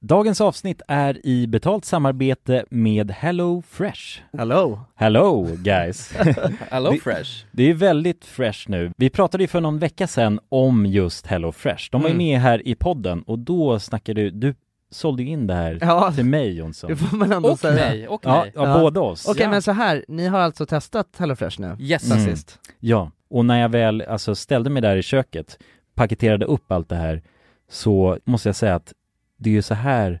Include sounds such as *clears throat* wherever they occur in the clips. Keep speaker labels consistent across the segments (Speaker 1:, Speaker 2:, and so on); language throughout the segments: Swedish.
Speaker 1: Dagens avsnitt är i betalt samarbete med Hello Fresh.
Speaker 2: Hello!
Speaker 1: Hello
Speaker 3: *laughs*
Speaker 1: guys!
Speaker 4: Hello
Speaker 1: Det-
Speaker 4: Fresh.
Speaker 1: Det är väldigt fresh nu. Vi pratade ju för någon vecka sedan om just Hello Fresh. De var ju
Speaker 2: Mm.
Speaker 1: med här i podden och då snackade du, du sålde ju in det här
Speaker 3: Ja.
Speaker 1: till mig Jonsson.
Speaker 3: Det får man ändå säga.
Speaker 1: ja, Ja, båda oss.
Speaker 3: Okej, men så här, ni har alltså testat HelloFresh nu? Sen
Speaker 1: Mm.
Speaker 3: sist.
Speaker 1: Ja, och när jag väl alltså, ställde mig där i köket, paketerade upp allt det här, så måste jag säga att det är ju så här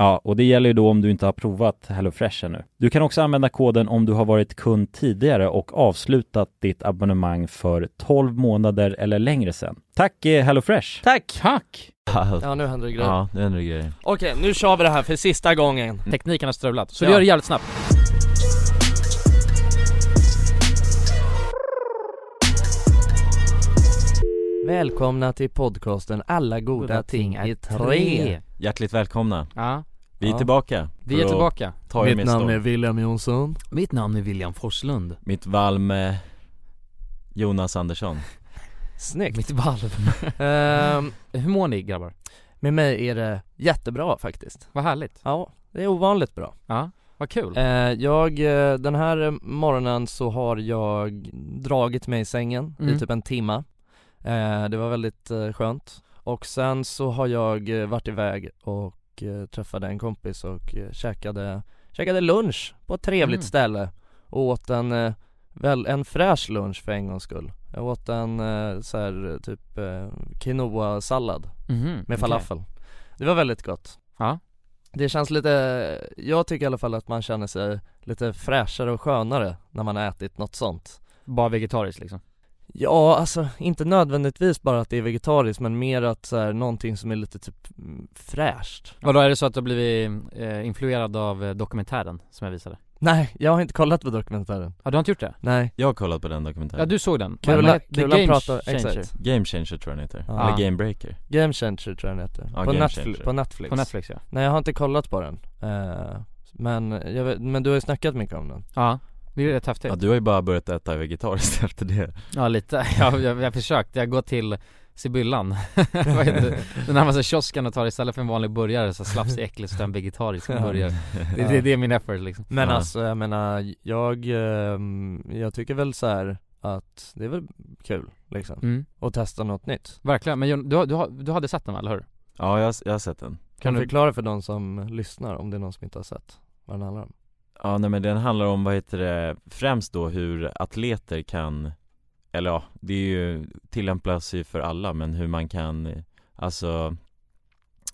Speaker 1: Ja, och det gäller ju då om du inte har provat HelloFresh ännu. Du kan också använda koden om du har varit kund tidigare och avslutat ditt abonnemang för 12 månader eller längre sedan. Tack eh, HelloFresh!
Speaker 3: Tack!
Speaker 1: *laughs*
Speaker 2: Tack!
Speaker 5: Ja, nu händer det grejer.
Speaker 1: Ja, nu händer det grejer. Mm.
Speaker 5: Okej, nu kör vi det här för sista gången.
Speaker 2: Tekniken har strulat, så
Speaker 5: Ja.
Speaker 2: du gör det jävligt snabbt.
Speaker 5: Välkomna till podcasten Alla goda, ting är tre.
Speaker 1: Hjärtligt välkomna!
Speaker 2: Ja.
Speaker 1: Vi är
Speaker 5: Ja.
Speaker 1: tillbaka!
Speaker 2: Vi
Speaker 1: för
Speaker 2: är
Speaker 1: att
Speaker 2: tillbaka.
Speaker 1: Ta er
Speaker 5: Mitt
Speaker 1: med
Speaker 5: namn
Speaker 1: storm.
Speaker 5: är William Jonsson.
Speaker 2: Mitt namn är William Forslund.
Speaker 1: Mitt valm eh, Jonas Andersson
Speaker 5: Snyggt.
Speaker 2: Mitt valv.
Speaker 5: Ehm,
Speaker 2: Hur mår ni grabbar?
Speaker 5: med mig är det jättebra faktiskt.
Speaker 2: Vad härligt.
Speaker 5: Ja, det är ovanligt bra.
Speaker 2: Ja, vad kul.
Speaker 5: Eh, jag, eh, den här morgonen så har jag dragit mig i sängen
Speaker 2: Mm.
Speaker 5: i typ en timma eh, Det var väldigt eh, skönt Och sen så har jag eh, varit iväg och eh, träffade en kompis och eh, käkade, käkade lunch på ett trevligt
Speaker 2: Mm.
Speaker 5: ställe Och åt en, eh, väl, en fräsch lunch för en gångs skull Jag åt en eh, så här, eh, typ eh, quinoa-sallad
Speaker 2: Mhm, okej.
Speaker 5: med falafel Det var väldigt gott
Speaker 2: Ja.
Speaker 5: det känns lite, jag tycker i alla fall att man känner sig lite fräschare och skönare när man har ätit något sånt
Speaker 2: Bara vegetariskt liksom.
Speaker 5: Ja, alltså inte nödvändigtvis bara att det är vegetariskt men mer att så här, någonting som är lite typ mm, fräscht
Speaker 2: Och då är det så att du har blivit eh, influerad av eh, dokumentären som jag visade?
Speaker 5: Nej, jag har inte kollat på dokumentären
Speaker 2: Ja, du har inte gjort det?
Speaker 5: Nej
Speaker 1: Jag har kollat på den dokumentären
Speaker 2: Ja, du såg den?
Speaker 5: Kulan-
Speaker 2: Men- The
Speaker 5: Kulan
Speaker 2: Game
Speaker 5: pratar-
Speaker 2: Changer.
Speaker 5: exakt.
Speaker 1: Game Changer tror jag den heter,
Speaker 5: Ja.
Speaker 1: eller Game Breaker
Speaker 5: Game Changer tror jag den heter,
Speaker 1: Ja,
Speaker 5: på,
Speaker 1: Game
Speaker 5: Netflix,
Speaker 1: Changer.
Speaker 5: på Netflix
Speaker 2: På Netflix ja.
Speaker 5: Nej jag har inte kollat på den, Eh, men, jag vet, men du har ju snackat mycket om den
Speaker 2: Ja, det är ju rätt häftigt.
Speaker 1: Ja du har ju bara börjat äta vegetariskt *laughs* efter det
Speaker 2: Ja lite, *laughs* jag, jag, jag försökte, jag går till Sibyllan, *laughs* Vad heter det? den närmaste kiosken och tar istället för en vanlig burgare så slafsig äcklig så tar jag
Speaker 5: *laughs*
Speaker 2: en vegetarisk burgare det, det, det är min effort liksom
Speaker 5: Men
Speaker 1: Ja.
Speaker 5: alltså jag menar, jag, ehm, jag tycker väl så här att det är väl kul liksom
Speaker 2: mm,
Speaker 5: att testa något nytt
Speaker 2: Verkligen, men Jon, du, har- du, har- du hade sett den va, eller hur?
Speaker 1: Ja jag, har- jag har sett den
Speaker 5: Kan du
Speaker 2: du-
Speaker 5: förklara för de som lyssnar om det är någon som inte har sett vad den handlar om?
Speaker 1: Ja nej men den handlar om, vad heter det, främst då hur atleter kan Eller ja, det är ju, tillämpas ju för alla men hur man kan eh, Alltså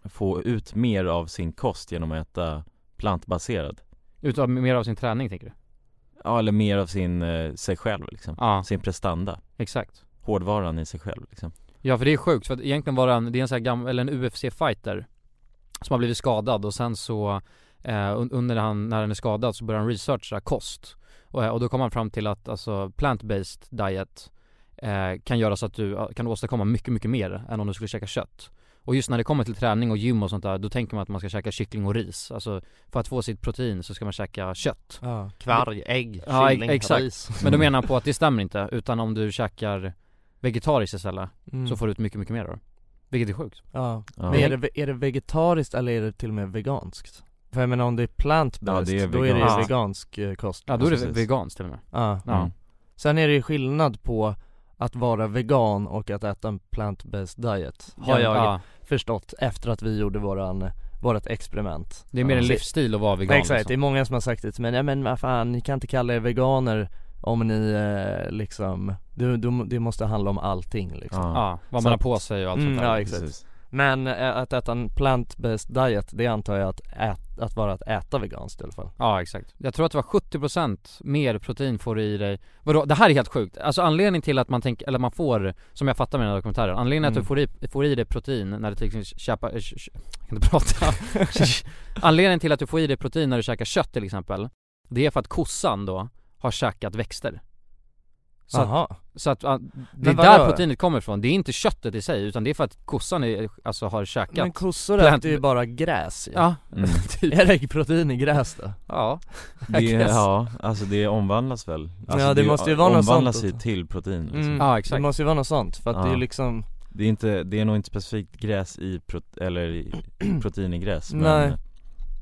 Speaker 1: Få ut mer av sin kost genom att äta plantbaserad
Speaker 2: Utav mer av sin träning tänker du?
Speaker 1: Ja eller mer av sin, eh, sig själv liksom
Speaker 2: Ja,
Speaker 1: Sin prestanda,
Speaker 2: exakt
Speaker 1: hårdvaran i sig själv liksom
Speaker 2: Ja för det är sjukt, för att egentligen var det en, det är en sån här gammal, eller en UFC-fighter Som har blivit skadad och sen så eh, un- Under han, när han är skadad så börjar han researcha kost Och, eh, och då kom han fram till att alltså plant-based diet eh, Kan göra så att du eh, kan åstadkomma mycket, mycket mer än om du skulle käka kött Och just när det kommer till träning och gym och sånt där Då tänker man att man ska käka kyckling och ris Alltså för att få sitt protein så ska man käka kött
Speaker 5: Ja.
Speaker 2: Kvarg,
Speaker 5: ägg,
Speaker 2: Ja, kyckling, ex- exakt. Men då
Speaker 1: Mm.
Speaker 2: menar han på att det stämmer inte utan om du käkar vegetariskt istället
Speaker 5: Mm.
Speaker 2: så får du ut mycket, mycket mer då. Vilket är sjukt.
Speaker 5: ja.
Speaker 1: Ja.
Speaker 5: Men är det, är det vegetariskt eller är det till och med veganskt? För jag menar om det är plant-based,
Speaker 1: Ja, det är
Speaker 5: då är det ju
Speaker 2: veganskt.
Speaker 5: vegansk eh, kost
Speaker 2: Ja då är det
Speaker 1: Precis.
Speaker 2: veganskt till och med.
Speaker 5: ja.
Speaker 2: Ja.
Speaker 1: Mm.
Speaker 5: Sen är det ju skillnad på att vara vegan och att äta en plant-based diet Har jag
Speaker 2: ja,
Speaker 5: förstått efter att vi gjorde våran, vårat experiment
Speaker 2: Det är mer en
Speaker 5: Ja.
Speaker 2: livsstil att vara vegan
Speaker 5: Nej, Exakt, det är
Speaker 2: liksom.
Speaker 5: många som har sagt det till mig, nej men vad fan, ni kan inte kalla er veganer om ni eh, liksom, det, det måste handla om allting liksom
Speaker 2: Ja, vad
Speaker 5: Så
Speaker 2: man har
Speaker 5: att-
Speaker 2: på sig och allt
Speaker 5: Mm,
Speaker 2: sånt där.
Speaker 5: ja, exakt.
Speaker 1: Precis.
Speaker 5: Men eh, att äta en plant-based diet, det antar jag att, ät, att vara att äta veganskt i alla fall
Speaker 2: Ja exakt. Jag tror att det var 70% mer protein får du i dig. Vadå, det här är helt sjukt. Alltså anledningen till att man tänker, eller man får, som jag fattar med den här dokumentären, anledningen
Speaker 5: Mm.
Speaker 2: att du får i, får i dig protein när du till exempel käpa, äh, sh- sh- jag kan inte prata. anledningen till att du får i dig protein när du käkar kött till exempel, det är för att kossan då har käkat växter. Så
Speaker 6: Jaha.
Speaker 2: att, så att, ah, det är
Speaker 6: Men
Speaker 2: där
Speaker 6: vadå?
Speaker 2: proteinet kommer ifrån, det är inte köttet i sig utan det är för att kossan är, alltså har käkat
Speaker 5: Men kossor
Speaker 2: plant- typ.
Speaker 5: äter ju
Speaker 2: *laughs*
Speaker 5: bara gräs ju.
Speaker 2: Ja,
Speaker 5: Är det protein i gräs då?
Speaker 2: Ja
Speaker 1: Mm.
Speaker 5: *laughs*
Speaker 1: Det, ja, alltså det omvandlas väl? Alltså
Speaker 5: Ja, det måste ju vara något
Speaker 1: omvandlas
Speaker 5: sånt.
Speaker 1: ju till protein liksom.
Speaker 5: Mm, Det måste ju vara något sånt för att det är ju liksom
Speaker 1: Det är inte, det är nog inte specifikt gräs i, prot- eller
Speaker 5: *clears throat*
Speaker 1: i protein i gräs men
Speaker 5: Nej.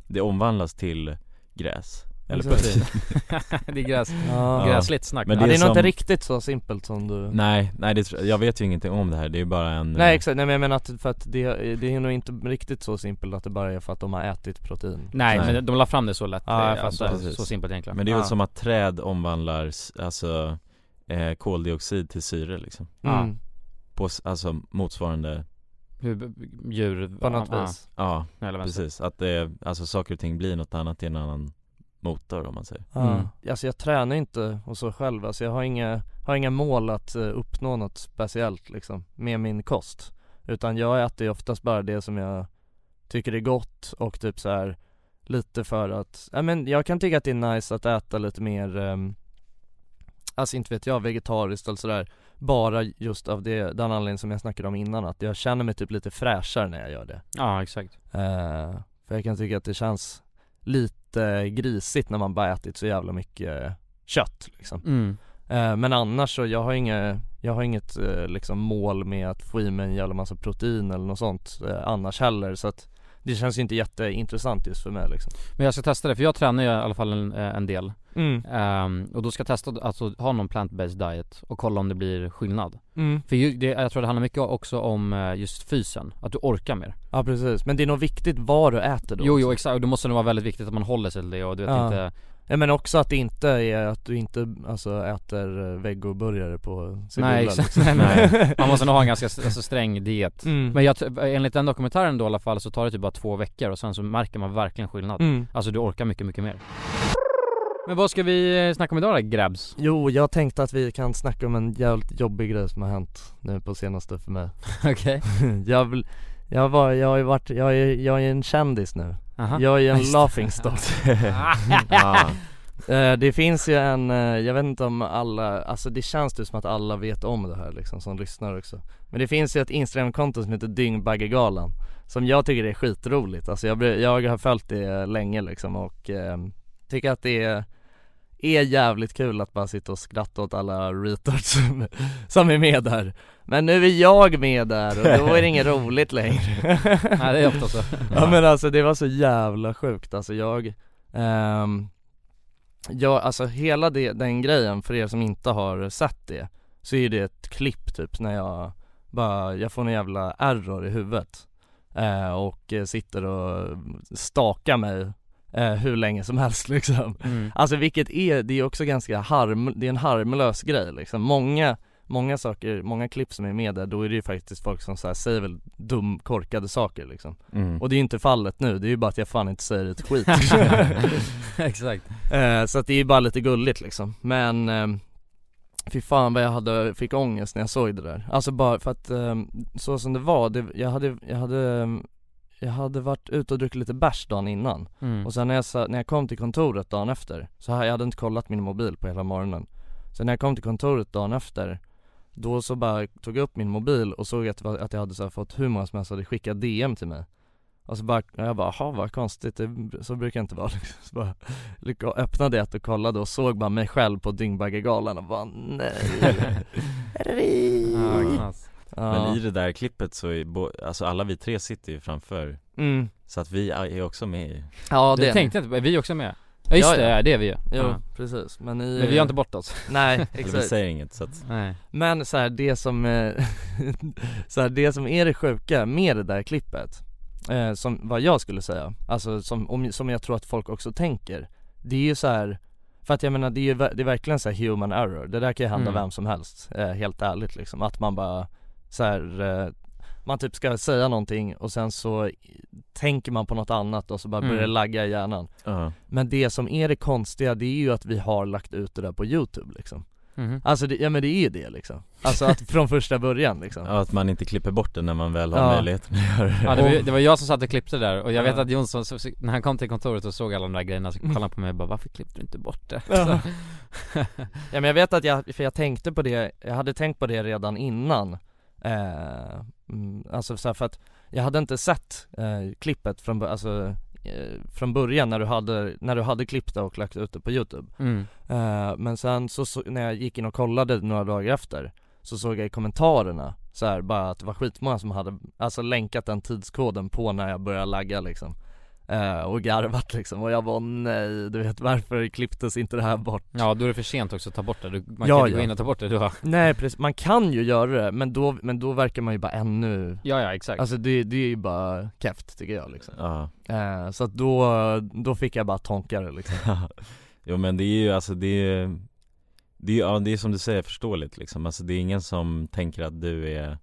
Speaker 1: Det omvandlas till gräs eller
Speaker 5: Exakt.
Speaker 1: protein
Speaker 2: det är gräs,
Speaker 5: Ja.
Speaker 2: gräsligt snack
Speaker 5: Ja, det är nog inte riktigt så simpelt som du
Speaker 1: Nej, nej det, tr- jag vet ju ingenting om det här, det är bara en
Speaker 5: Nej exakt, nej men jag menar att, för att det, det är nog inte riktigt så simpelt att det bara är för att de har ätit protein
Speaker 2: Nej, men de la fram det så lätt,
Speaker 5: Ja, jag
Speaker 2: eh, alltså,
Speaker 5: fattar.
Speaker 2: så simpelt egentligen
Speaker 1: Men det är väl
Speaker 2: Ja.
Speaker 1: som att träd omvandlar, s- alltså eh, koldioxid till syre liksom
Speaker 2: Ja. Mm.
Speaker 1: På, s- alltså motsvarande
Speaker 2: Hur b- b- djur
Speaker 5: På något vis.
Speaker 1: Ja,
Speaker 2: Eller vänster.
Speaker 1: precis, att det, alltså saker och ting blir något annat i en annan motor om man säger
Speaker 5: Ja.
Speaker 2: Mm.
Speaker 5: Alltså jag tränar inte och så själv, alltså jag har inga, har inga mål att eh, uppnå något speciellt liksom med min kost Utan jag äter ju oftast bara det som jag tycker är gott och typ så här lite för att, ja men jag kan tycka att det är nice att äta lite mer ehm, Alltså inte vet jag, vegetariskt eller sådär Bara just av det, den anledningen som jag snackade om innan att jag känner mig typ lite fräschare när jag gör det
Speaker 2: Ja exakt
Speaker 5: Eh, för jag kan tycka att det känns lite grisigt när man bara ätit så jävla mycket kött liksom.
Speaker 2: Mm.
Speaker 5: Eh, men annars så, jag har inget, jag har inget eh, liksom mål med att få i mig en jävla massa protein eller något sånt eh, annars heller så att det känns ju inte jätteintressant just för mig liksom.
Speaker 2: Men jag ska testa det, för jag tränar ju i alla fall en, eh, en del
Speaker 5: Mm.
Speaker 2: Ehm, Och då ska jag testa att alltså, ha någon plant-based diet och kolla om det blir skillnad
Speaker 5: Mm.
Speaker 2: För ju, det, jag tror det handlar mycket också om eh, just fysen, att du orkar mer
Speaker 5: Ja precis, men det är nog viktigt vad du äter då
Speaker 2: Jo jo exakt, och då måste det vara väldigt viktigt att man håller sig till det och du vet
Speaker 5: Ja.
Speaker 2: inte
Speaker 5: Ja, men också att det inte är att du inte alltså äter eh, vegoburgare på Sibylla
Speaker 2: Nej exakt,
Speaker 5: liksom.
Speaker 2: nej, nej. man måste nog ha en ganska s- alltså, sträng diet
Speaker 5: Mm.
Speaker 2: Men jag, t- enligt den dokumentären då i alla fall så tar det typ bara två veckor och sen så märker man
Speaker 5: *laughs*
Speaker 2: verkligen skillnad
Speaker 5: Mm.
Speaker 2: Alltså du orkar mycket, mycket mer Men vad ska vi eh, snacka om idag då grabs?
Speaker 5: *laughs* Jo, jag tänkte att vi kan snacka om en jävligt jobbig grej som har hänt nu på senaste för mig
Speaker 2: Okej
Speaker 5: jag, vill- jag, var, jag har ju varit, jag är, jag är en kändis nu
Speaker 2: Aha.
Speaker 5: Jag är ju en
Speaker 2: Just det. *laughs*
Speaker 5: laughingstock
Speaker 2: Ah.
Speaker 5: Eh, Det finns ju en, eh, jag vet inte om alla, alltså det känns ju som att alla vet om det här liksom som lyssnar också Men det finns ju ett instagramkonto som heter Dyngbaggegalan Som jag tycker är skitroligt, alltså jag, blir- jag har följt det länge liksom och eh, tycker att det är är jävligt kul att bara sitta och skratta åt alla retards som, som är med där Men nu är jag med där och då är det inget roligt längre
Speaker 2: *laughs* Nej, det är ofta så.
Speaker 5: Ja men alltså det var så jävla sjukt alltså jag ehm, Ja alltså hela det, den grejen för er som inte har sett det Så är det ett klipp typ när jag bara, jag får en jävla error i huvudet eh, Och eh, sitter och stakar mig eh, hur länge som helst *laughs* liksom
Speaker 2: Mm.
Speaker 5: Alltså vilket är, det är också ganska harm, det är en harmlös grej liksom Många, många saker, många klipp som är med där, då är det ju faktiskt folk som så här, säger väl dum, korkade saker liksom
Speaker 1: Mm.
Speaker 5: Och det är ju inte fallet nu, det är ju bara att jag fan inte säger ett skit
Speaker 2: Exakt
Speaker 5: Eh, Så att det är ju bara lite gulligt liksom, men ehm, Fy fan vad jag hade, fick ångest när jag såg det där. Alltså bara för att ehm, så som det var, det, jag hade, jag hade ehm, jag hade varit ute och druckit lite bärs dagen innan
Speaker 2: Mm.
Speaker 5: och sen när jag, sa- när jag kom till kontoret dagen efter, så här, jag hade inte kollat min mobil på hela morgonen Så när jag kom till kontoret dagen efter, då så bara tog jag upp min mobil och såg att, det var- att jag hade så här, fått hur många som helst hade skickat DM till mig och så bara, och jag bara, jaha vad konstigt, det, så brukar jag inte vara *laughs* liksom. Så bara, lyck- öppnade ett och kollade och såg bara mig själv på Dyngbaggegalan och bara
Speaker 2: *laughs*
Speaker 5: nej
Speaker 2: Ah,
Speaker 1: Men i det där klippet så är, bo- alltså alla vi tre sitter ju framför
Speaker 5: Mm.
Speaker 1: Så att vi är är också med i
Speaker 5: Ja det
Speaker 2: det tänkte jag inte, på. vi är också med Ja just det, det är vi ju
Speaker 5: Jo,
Speaker 2: Ja.
Speaker 5: precis men, i,
Speaker 2: Men vi har inte bort oss
Speaker 5: *laughs*
Speaker 2: *laughs*
Speaker 5: Nej,
Speaker 1: Eller
Speaker 5: exakt
Speaker 1: vi säger inget så att
Speaker 2: Nej
Speaker 5: Men så här, det som, eh, *laughs* så här, det som är det sjuka med det där klippet eh, Som, vad jag skulle säga, alltså som, om, som jag tror att folk också tänker Det är ju så här för att jag menar det är ju ver- det är verkligen så här human error, det där kan ju hända
Speaker 2: Mm.
Speaker 5: vem som helst, eh, helt ärligt liksom, att man bara så här, eh, man typ ska säga någonting och sen så tänker man på något annat och så bara
Speaker 1: Mm.
Speaker 5: börjar det lagga i hjärnan
Speaker 1: Ja.
Speaker 5: Men det som är det konstiga det är ju att vi har lagt ut det där på youtube liksom
Speaker 2: Mhm.
Speaker 5: *laughs* Alltså det, ja men det är ju det liksom Alltså att från första början
Speaker 1: *laughs*
Speaker 5: liksom
Speaker 1: Ja, att man inte klipper bort det när man väl har möjligheten att göra
Speaker 2: Ja, det, var, ju- det var jag som satt och klippte där och jag vet att Jonsson, så, så, när han kom till kontoret och såg alla de där grejerna så kollade han på mig och bara 'Varför klippte du inte bort det?'
Speaker 5: Mm. Ja.
Speaker 2: Så-
Speaker 5: ja men jag vet att jag, för jag tänkte på det, jag hade tänkt på det redan innan eh, mm, Alltså så här, för att jag hade inte sett eh, klippet från, bör- alltså, eh, från början när du, hade, när du hade klippt det och lagt ut det på youtube
Speaker 2: *laughs* Mm.
Speaker 5: eh, Men sen så, så, när jag gick in och kollade några dagar efter Så såg jag i kommentarerna så här, bara att det var skitmånga som hade alltså länkat den tidskoden på när jag började lagga liksom Eh, och garvat liksom och jag var nej du vet varför klipptes inte det här bort?
Speaker 2: Ja då är det för sent också att ta bort det, du, man
Speaker 5: Ja,
Speaker 2: kan inte gå
Speaker 5: ja.
Speaker 2: in och ta bort det, du har
Speaker 5: Nej precis, man kan ju göra det men då, men då verkar man ju bara ännu
Speaker 2: Ja, ja, exakt.
Speaker 5: Alltså det, det är ju bara keft tycker jag liksom
Speaker 1: Ja.
Speaker 5: eh, Så att då, då fick jag bara tonka det liksom
Speaker 1: *laughs* Jo men det är ju alltså det är, det är, ja, det är som du säger förståeligt liksom, alltså det är ingen som tänker att du är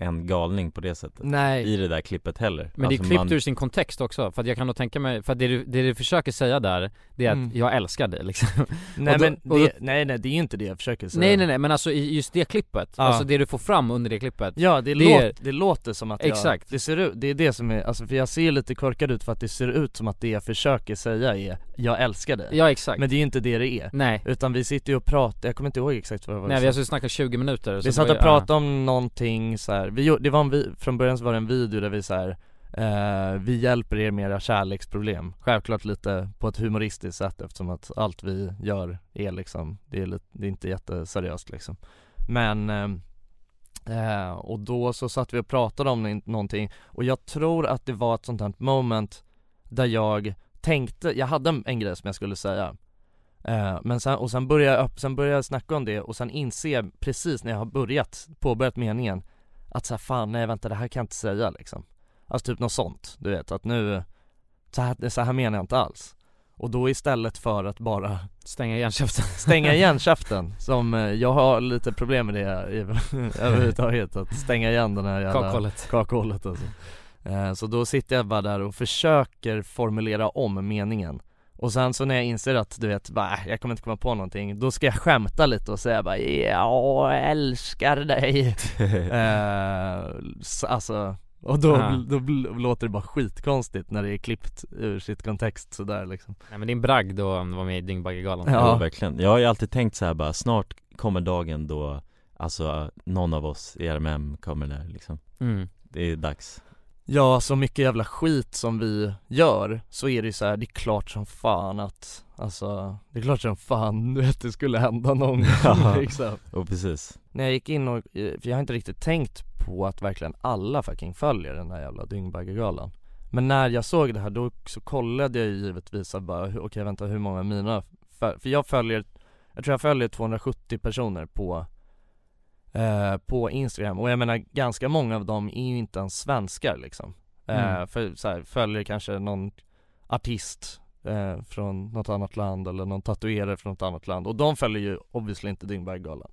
Speaker 1: en galning på det sättet
Speaker 2: Nej.
Speaker 1: I det där klippet heller
Speaker 2: Men det är
Speaker 1: Alltså,
Speaker 2: klippt
Speaker 1: man-
Speaker 2: *laughs* ur sin kontext också, för att jag kan nog tänka mig, för att det du, det du försöker säga där, det är att
Speaker 5: Mm.
Speaker 2: jag älskar
Speaker 5: *laughs*
Speaker 2: dig liksom
Speaker 5: Nej
Speaker 2: Och då-
Speaker 5: men,
Speaker 2: och då-
Speaker 5: det, nej nej det är ju inte det jag försöker säga
Speaker 2: Nej nej nej men alltså i just det klippet,
Speaker 5: Ja.
Speaker 2: alltså det du får fram under det klippet
Speaker 5: Ja det,
Speaker 2: är-
Speaker 5: låter, det låter som att jag,
Speaker 2: Exakt.
Speaker 5: det ser ut, det är det som är, alltså för jag ser lite korkad ut för att det ser ut som att det jag försöker säga är Jag älskar dig
Speaker 2: Ja, exakt.
Speaker 5: Men det är ju inte det det är
Speaker 2: Nej.
Speaker 5: Utan vi sitter ju och pratar, jag kommer inte ihåg exakt vad det var
Speaker 2: Nej
Speaker 5: sa.
Speaker 2: vi har suttit och snackat 20 minuter så
Speaker 5: Vi
Speaker 2: det
Speaker 5: satt
Speaker 2: var
Speaker 5: och
Speaker 2: ju-
Speaker 5: pratade om någonting så här. Vi, gjorde- det var en, vi- från början så var det en video där vi så här. Eh, vi hjälper er med era kärleksproblem Självklart lite på ett humoristiskt sätt eftersom att allt vi gör är liksom Det är, lite, det är inte jätteseriöst liksom Men ehm, eh, Och då så satt vi och pratade om n- någonting Och jag tror att det var ett sånt här moment Där jag tänkte, jag hade en, en grej som jag skulle säga Eh, men sen, och sen börjar jag, upp- sen börjar jag snacka om det och sen inser jag precis när jag har börjat, påbörjat meningen Att så här, fan nej vänta det här kan jag inte säga liksom Alltså typ något sånt, du vet att nu Så här, så här menar jag inte alls Och då istället för att bara
Speaker 2: Stänga igen käften
Speaker 5: Stänga igen käften, som eh, jag har lite problem med det i, *laughs* överhuvudtaget att stänga igen den här jävla
Speaker 2: Kakhålet.
Speaker 5: kakhålet alltså. Eh, Så då sitter jag bara där och försöker formulera om meningen och sen så när jag inser att du vet, bara, äh, jag kommer inte komma på någonting, då ska jag skämta lite och säga bara ja, jag älskar dig eh, s- Alltså, och då,
Speaker 2: Ja.
Speaker 5: då bl- låter det bara skitkonstigt när det är klippt ur sitt kontext sådär liksom
Speaker 2: Nej men din bragd då om du var med i Dyngbaggegalan
Speaker 1: Ja. verkligen. Jag har ju alltid tänkt så här bara, snart kommer dagen då Alltså någon av oss i RMM kommer där liksom
Speaker 2: Mm.
Speaker 1: Det är dags
Speaker 5: Ja, så mycket jävla skit som vi gör så är det ju så här, det är klart som fan att Alltså, det är klart som fan *laughs* du vet, det skulle hända någon
Speaker 1: Ja.
Speaker 5: gång liksom.
Speaker 1: Och precis
Speaker 5: När jag gick in och, eh, för jag har inte riktigt tänkt på att verkligen alla fucking följer den här jävla Dyngbaggegalan Men när jag såg det här då så kollade jag ju givetvis att bara, hur- okej vänta hur många är mina, föl- för jag följer, jag tror jag följer 270 personer på eh, på Instagram och jag menar ganska många av dem är ju inte ens svenskar liksom eh,
Speaker 2: Mm.
Speaker 5: för, så här, Följer kanske någon artist eh, från något annat land eller någon tatuerare från något annat land och de följer ju obviously inte Dyngbaggegalan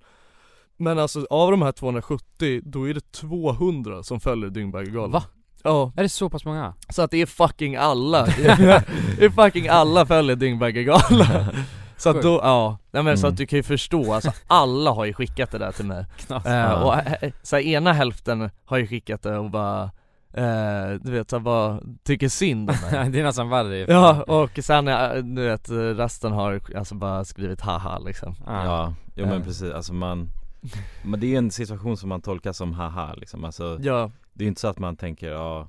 Speaker 5: Men alltså av de här 270 då är det 200 som följer Dyngbaggegalan
Speaker 2: Va?
Speaker 5: Ja
Speaker 2: Är det så pass många?
Speaker 5: Så att det är fucking alla, det är fucking alla följer Dyngbaggegalan Så att då, ja, nej men så
Speaker 1: Mm.
Speaker 5: att du kan ju förstå, alltså alla har ju skickat det där till mig
Speaker 2: Knas.
Speaker 5: Eh, och
Speaker 1: Ja.
Speaker 5: eh, så här, ena hälften har ju skickat det och bara eh, du vet så här, bara tycker synd om
Speaker 2: *laughs*
Speaker 5: mig
Speaker 2: *laughs* Det är nästan värre ju.
Speaker 5: Ja och sen eh, du vet resten har alltså bara skrivit haha liksom
Speaker 1: Ja, jo men
Speaker 5: Eh.
Speaker 1: precis, alltså
Speaker 2: *laughs*
Speaker 1: man Men det är ju en situation som man tolkar som haha liksom, alltså
Speaker 5: Ja.
Speaker 1: Det är ju inte så att man tänker, ja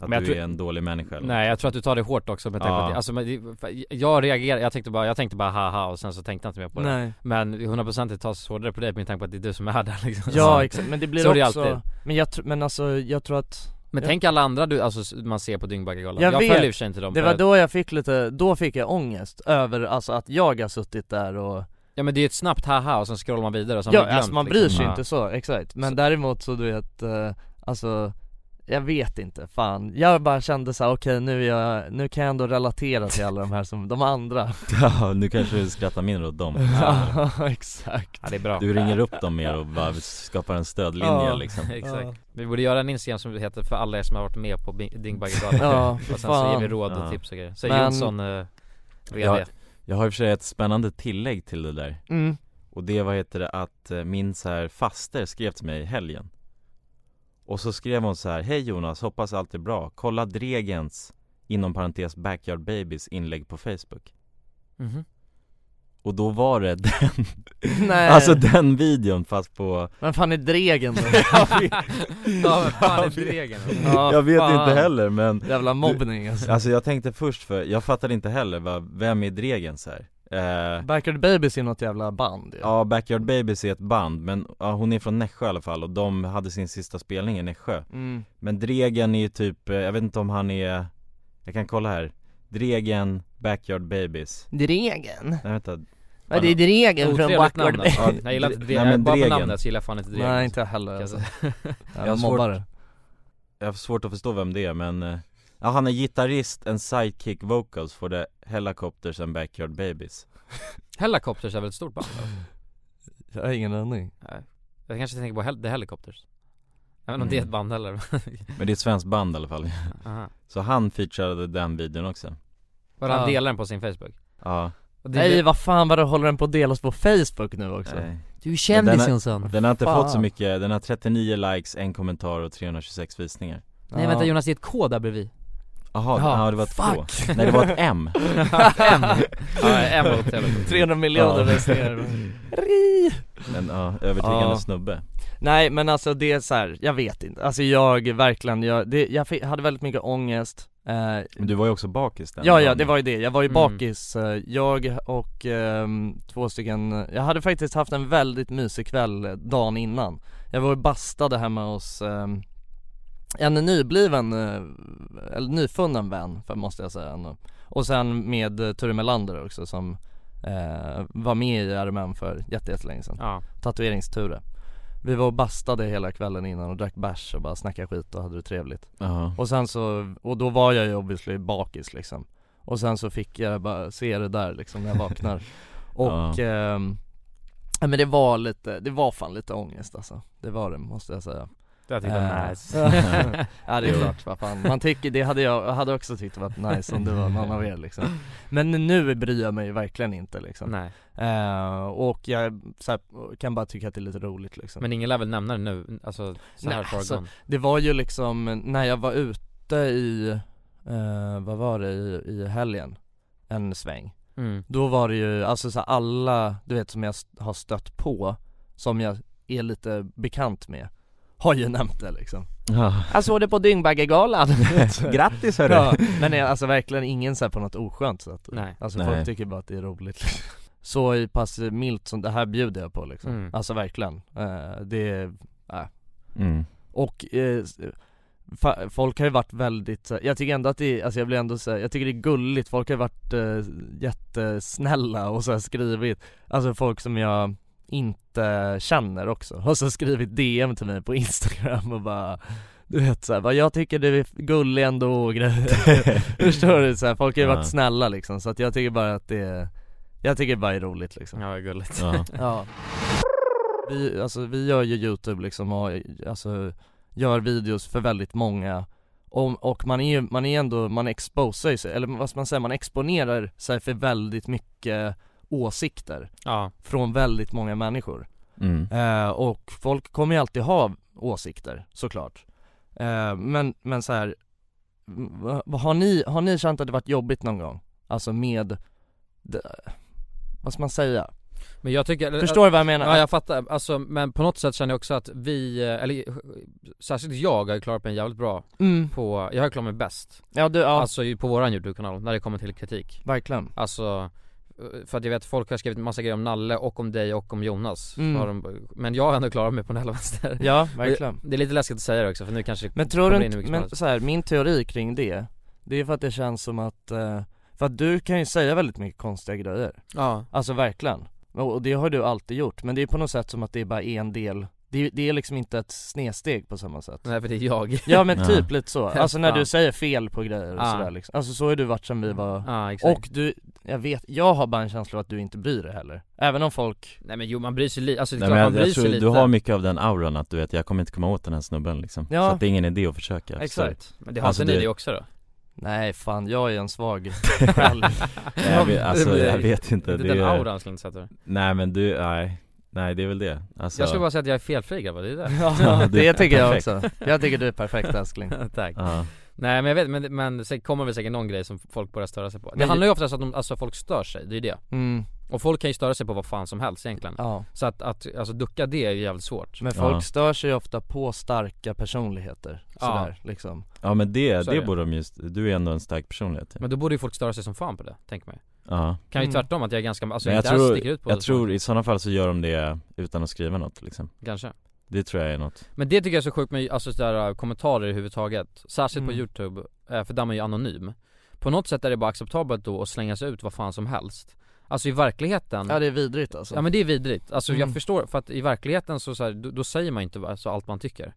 Speaker 1: Att
Speaker 2: Men jag
Speaker 1: du
Speaker 2: tror-
Speaker 1: är en dålig människa eller
Speaker 2: Nej jag tror att du tar det hårt också med tanke på
Speaker 1: Ja.
Speaker 2: att, alltså, men det- jag reagerade, jag tänkte bara, jag tänkte bara haha och sen så tänkte jag inte mer på det
Speaker 5: Nej.
Speaker 2: Men 100% det tas hårdare på dig med tanke på att det är du som är där *laughs* liksom
Speaker 5: Ja exakt, men det blir
Speaker 2: Så är
Speaker 5: också,
Speaker 2: alltid.
Speaker 5: men jag tr- men alltså jag tror att
Speaker 2: Men
Speaker 5: jag-
Speaker 2: tänk alla andra du, alltså s- man ser på Dyngbaggegalan
Speaker 5: Jag
Speaker 2: Jag,
Speaker 5: vet.
Speaker 2: följer i och för sig inte dem
Speaker 5: Det
Speaker 2: för
Speaker 5: var
Speaker 2: att-
Speaker 5: då jag fick lite, då fick jag ångest över alltså att jag har suttit där och
Speaker 2: Ja men det är ju ett snabbt haha och sen scrollar man vidare och så har
Speaker 5: Ja
Speaker 2: man glömt,
Speaker 5: alltså man bryr sig
Speaker 2: liksom.
Speaker 5: inte så, exakt, men däremot så du vet, eh, alltså jag vet inte, fan. Jag bara kände så här, okej nu, är jag, nu kan jag ändå relatera till alla de här som, de
Speaker 2: *laughs*
Speaker 5: andra
Speaker 1: *laughs* Ja, nu kanske du skrattar mindre åt dem
Speaker 5: *laughs* Ja, exakt
Speaker 2: Ja, det är bra.
Speaker 1: Du ringer
Speaker 2: *laughs*
Speaker 1: upp dem mer och bara skapar en stödlinje liksom
Speaker 2: Exakt. Vi borde göra en Instagram som heter för alla er som har varit med på Bing- Dyngbaggegalan *laughs*
Speaker 5: Ja,
Speaker 2: Och
Speaker 5: för
Speaker 2: sen så ger vi
Speaker 5: fan.
Speaker 2: råd och
Speaker 1: Ja.
Speaker 2: tips och grejer. Så
Speaker 5: Men-
Speaker 2: Jonsson, eh, VD.
Speaker 1: jag, jag har i och för sig ett spännande tillägg till det där
Speaker 2: Mm.
Speaker 1: Och det, vad heter det, att eh, min så här faster skrev till mig i helgen Och så skrev hon så här, hej Jonas, hoppas allt är bra, kolla Dregens, inom parentes Backyard Babies inlägg på Facebook *laughs*
Speaker 2: Mhm.
Speaker 1: Och då var det *laughs* den,
Speaker 5: Nej.
Speaker 1: alltså den videon fast på
Speaker 5: Men fan är Dregen då?
Speaker 2: *laughs* Ja, *laughs*
Speaker 1: *laughs*
Speaker 2: vad fan är Dregen?
Speaker 5: Ja,
Speaker 1: jag vet
Speaker 5: fan.
Speaker 1: inte heller men
Speaker 5: Jävla mobbning alltså.
Speaker 1: Alltså jag tänkte först för, jag fattade inte heller vad, vem är Dregen så här? Eh,
Speaker 5: Backyard Babies är något jävla band ju.
Speaker 1: ja Backyard Babies är ett band men ja, hon är från Nässjö i alla fall och de hade sin sista spelning i Nässjö
Speaker 5: Mm.
Speaker 1: Men Dregen är ju typ, eh, jag vet inte om han är, jag kan kolla här Dregen, Backyard Babies
Speaker 5: Dregen?
Speaker 1: Nej vänta
Speaker 5: Ja, det är Dregen från
Speaker 2: Otrevligt
Speaker 5: Backward
Speaker 2: namn alltså.
Speaker 1: Ja,
Speaker 2: Jag gillar inte
Speaker 1: nej,
Speaker 2: Dregen,
Speaker 1: men
Speaker 2: bara på
Speaker 1: Dregen.
Speaker 2: namnet så gillar alltså, jag fan inte Dregen
Speaker 5: Nej inte jag heller
Speaker 2: *laughs*
Speaker 5: alltså.
Speaker 1: Jag
Speaker 5: Jag
Speaker 1: har
Speaker 5: mobbare.
Speaker 1: svårt, jag har svårt att förstå vem det är men eh, ja, han är gitarrist and sidekick vocals for the Helicopters and Backyard Babies
Speaker 2: Helicopters är väl ett stort band? va?
Speaker 5: Jag har ingen aning.
Speaker 2: Nej. Jag kanske tänker på Hel- The Helicopters Jag vet inte om det
Speaker 5: Mm.
Speaker 2: är ett band heller *laughs*
Speaker 1: Men det är ett svenskt band i alla fall
Speaker 2: Aha.
Speaker 1: Så han featurade den videon också
Speaker 2: Bara han
Speaker 5: Ja.
Speaker 2: delar den på sin Facebook
Speaker 1: Ja
Speaker 2: Och det-
Speaker 5: Nej vad fan vad håller den på att delas på Facebook nu också?
Speaker 1: Nej.
Speaker 5: Du är
Speaker 1: Men
Speaker 5: kändis
Speaker 1: den,
Speaker 5: Jonsson.
Speaker 1: har, den har inte
Speaker 5: Fan.
Speaker 1: fått så mycket, den har 39 likes, en kommentar och 326 visningar
Speaker 2: Nej vänta Jonas, det är ett K där *laughs* bredvid
Speaker 1: Jaha,
Speaker 2: Ja,
Speaker 1: ja, det var ett
Speaker 2: fuck.
Speaker 1: K. Nej det var ett M
Speaker 2: M. Ja, M åt helvete.
Speaker 1: *laughs*
Speaker 5: 300 miljoner
Speaker 1: Ja.
Speaker 5: resterade. Ri.
Speaker 1: *laughs* Men ja, övertygande
Speaker 5: Ja.
Speaker 1: snubbe
Speaker 5: Nej men alltså det är så här, jag vet inte, alltså jag verkligen, jag, det, jag fick, hade väldigt mycket ångest eh,
Speaker 1: Men du var ju också bakis den
Speaker 5: Ja ja,
Speaker 1: dagen.
Speaker 5: det var ju det, jag var ju
Speaker 2: Mm.
Speaker 5: bakis, eh, jag och ehm, två stycken, jag hade faktiskt haft en väldigt mysig kväll eh, dagen innan Jag var och bastade hemma hos ehm, en nybliven, eh, eller nyfunnen vän för måste jag säga ändå. Och sen med eh, Ture Melander också som eh, var med i RMM för jätte- jättelänge sedan
Speaker 2: Ja,
Speaker 5: Tatueringsture Vi var och bastade hela kvällen innan och drack bärs och bara snackade skit och hade det trevligt
Speaker 1: Jaha.
Speaker 5: Och sen så, och då var jag ju obviously bakis liksom Och sen så fick jag bara se det där liksom när jag
Speaker 2: *laughs*
Speaker 5: vaknar Och,
Speaker 1: Ja.
Speaker 5: ehm, ja men det var lite, det var fan lite ångest alltså Det var det måste jag säga
Speaker 2: det hade
Speaker 5: Eh,
Speaker 2: varit nice *laughs*
Speaker 5: Ja det är klart, vad fan. Man tycker, det hade jag, jag hade också tyckt varit nice om det var någon av er liksom Men nu bryr jag mig verkligen inte liksom
Speaker 2: *laughs* Nej,
Speaker 5: Eh, Och jag så här, kan bara tycka att det är lite roligt liksom
Speaker 2: men ingen lär väl nämna det nu, alltså så här
Speaker 5: Nej,
Speaker 2: far
Speaker 5: alltså,
Speaker 2: gone.
Speaker 5: Det var ju liksom när jag var ute i, eh, vad var det, i, i helgen, en sväng
Speaker 2: mm.
Speaker 5: Då var det ju, alltså så här, alla, du vet som jag s- har stött på, som jag är lite bekant med Har ju *laughs* nämnt det liksom
Speaker 1: ja.
Speaker 5: Jag såg det på *laughs* Dyngbaggegalan
Speaker 1: Grattis hörru!
Speaker 5: ja, Men jag- alltså verkligen ingen så här på något oskönt sätt
Speaker 2: Nej,
Speaker 5: Alltså
Speaker 1: Nej.
Speaker 5: folk tycker bara att det är roligt liksom. Så pass milt som det här bjuder jag på liksom
Speaker 2: Mm.
Speaker 5: Alltså verkligen, Eh, det är
Speaker 1: Mm.
Speaker 5: och eh, fa- folk har ju varit väldigt, så här- jag tycker ändå att det är, alltså jag blir ändå så här, jag tycker det är gulligt, folk har ju varit eh, jättesnälla och så här skrivit, alltså folk som jag inte känner också, har så skrivit DM till mig på instagram och bara du vet såhär, bara, jag tycker du är gullig ändå och grejer *laughs* Förstår du? Så här, folk har ju
Speaker 1: Ja.
Speaker 5: varit snälla liksom, så att jag tycker bara att det är, jag tycker bara det är roligt liksom
Speaker 2: ja vad gulligt
Speaker 5: *laughs*
Speaker 1: Ja.
Speaker 5: Ja Vi, alltså vi gör ju youtube liksom och alltså gör videos för väldigt många och, och man är ju, man är ändå, man exposar ju sig, eller vad ska man säga, man exponerar sig för väldigt mycket åsikter
Speaker 2: Ja,
Speaker 5: från väldigt många människor
Speaker 1: Mm.
Speaker 5: eh, Och folk kommer ju alltid ha åsikter, såklart eh, Men, men så här, va- va- har ni, har ni känt att det varit jobbigt någon gång? Alltså med, det, vad ska man säga?
Speaker 2: men jag tycker eller-
Speaker 5: Förstår du vad jag menar?
Speaker 2: Eh, Ja jag fattar, alltså, men på något sätt känner jag också att vi, eh, eller eh, särskilt jag har ju klarat mig jävligt bra
Speaker 5: Mm.
Speaker 2: på, jag har ju klarat mig bäst
Speaker 5: Ja du, ja
Speaker 2: Alltså ju på våran youtube-kanal, när det kommer till kritik
Speaker 5: verkligen
Speaker 2: Alltså, eh, för att jag vet folk har skrivit massa grejer om Nalle och om dig och om Jonas
Speaker 5: Mm.
Speaker 2: har de, Men jag har ändå klarat mig på en helvete
Speaker 5: Ja,
Speaker 2: Det- Det är lite läskigt att säga det också för nu kanske det
Speaker 5: Men tror du
Speaker 2: kommer in
Speaker 5: inte,
Speaker 2: hur mycket som
Speaker 5: men
Speaker 2: helst.
Speaker 5: så här, min teori kring det Det är för att det känns som att, eh, för att du kan ju säga väldigt mycket konstiga grejer
Speaker 2: Ja
Speaker 5: Alltså verkligen Och och det har du alltid gjort, men det är på något sätt som att det bara är en del det, det är liksom inte ett snedsteg på samma sätt
Speaker 2: Nej för det är jag
Speaker 5: Ja men typ
Speaker 2: Ja. *laughs*
Speaker 5: lite så, alltså när
Speaker 2: Ja.
Speaker 5: du säger fel på grejer och
Speaker 2: Ja.
Speaker 5: sådär liksom. Alltså så har du varit sedan vi var,
Speaker 2: Ja, exakt.
Speaker 5: och du, jag vet, jag har bara en känsla av att du inte bryr dig heller Även om folk
Speaker 2: Nej men jo man bryr sig lite, alltså det är
Speaker 1: Nej, men jag,
Speaker 2: klart man bryr
Speaker 1: jag tror
Speaker 2: sig lite
Speaker 1: du har mycket av den auran att du vet, jag kommer inte komma åt den här snubben liksom
Speaker 5: Ja.
Speaker 1: Så att det är ingen idé att försöka
Speaker 5: Exakt.
Speaker 1: Så-
Speaker 5: Men det har inte ni det också då? Nej fan, jag är en svag
Speaker 1: *laughs*
Speaker 5: själ
Speaker 1: Nej, jag vet, alltså, jag vet inte,
Speaker 2: Inte
Speaker 1: det
Speaker 2: den
Speaker 1: är-
Speaker 2: auran ska inte sätta det.
Speaker 1: Nej men du, nej, nej det är väl det alltså,
Speaker 2: Jag skulle bara säga att jag är felfri grabbar, det är det
Speaker 1: *laughs*
Speaker 5: Ja, det tycker jag
Speaker 1: perfekt.
Speaker 5: också. Jag tycker du är perfekt älskling
Speaker 2: *laughs* Tack
Speaker 1: Ja.
Speaker 2: Nej men jag vet, men, men sen kommer väl säkert någon grej som folk börjar störa sig på Det
Speaker 5: Men-
Speaker 2: handlar ju oftast om att de, alltså, folk stör sig, det är det
Speaker 5: Mm.
Speaker 2: Och folk kan ju störa sig på vad fan som helst egentligen
Speaker 5: Ja.
Speaker 2: Så att, att alltså, ducka det är ju jävligt svårt
Speaker 5: Men folk stör sig ofta på starka personligheter, sådär liksom
Speaker 2: Mm.
Speaker 1: Ja men det,
Speaker 2: Så är
Speaker 1: det
Speaker 2: det.
Speaker 1: borde de just, du är ändå en stark personlighet typ.
Speaker 2: Men då borde ju folk störa sig som fan på det, tänker man ju
Speaker 1: Ja.
Speaker 2: Kan ju
Speaker 5: Mm.
Speaker 2: tvärtom att jag är ganska, alltså
Speaker 1: Men jag
Speaker 2: inte alls
Speaker 1: tror,
Speaker 2: sticker ut på
Speaker 1: jag
Speaker 2: det.
Speaker 1: tror i sådana fall så gör de det utan att skriva något liksom
Speaker 2: Kanske.
Speaker 1: Det tror jag är något
Speaker 2: Men det tycker jag är så sjukt med alltså, sådär, eh, kommentarer överhuvudtaget Särskilt på
Speaker 5: Mm.
Speaker 2: youtube, eh, för där är man ju anonym På något sätt är det bara acceptabelt då att slänga sig ut vad fan som helst Alltså i verkligheten
Speaker 5: Ja det är vidrigt alltså
Speaker 2: Ja men det är vidrigt, alltså
Speaker 5: Mm.
Speaker 2: jag förstår, för att i verkligheten så, så här, då, då säger man ju inte alltså, allt man tycker För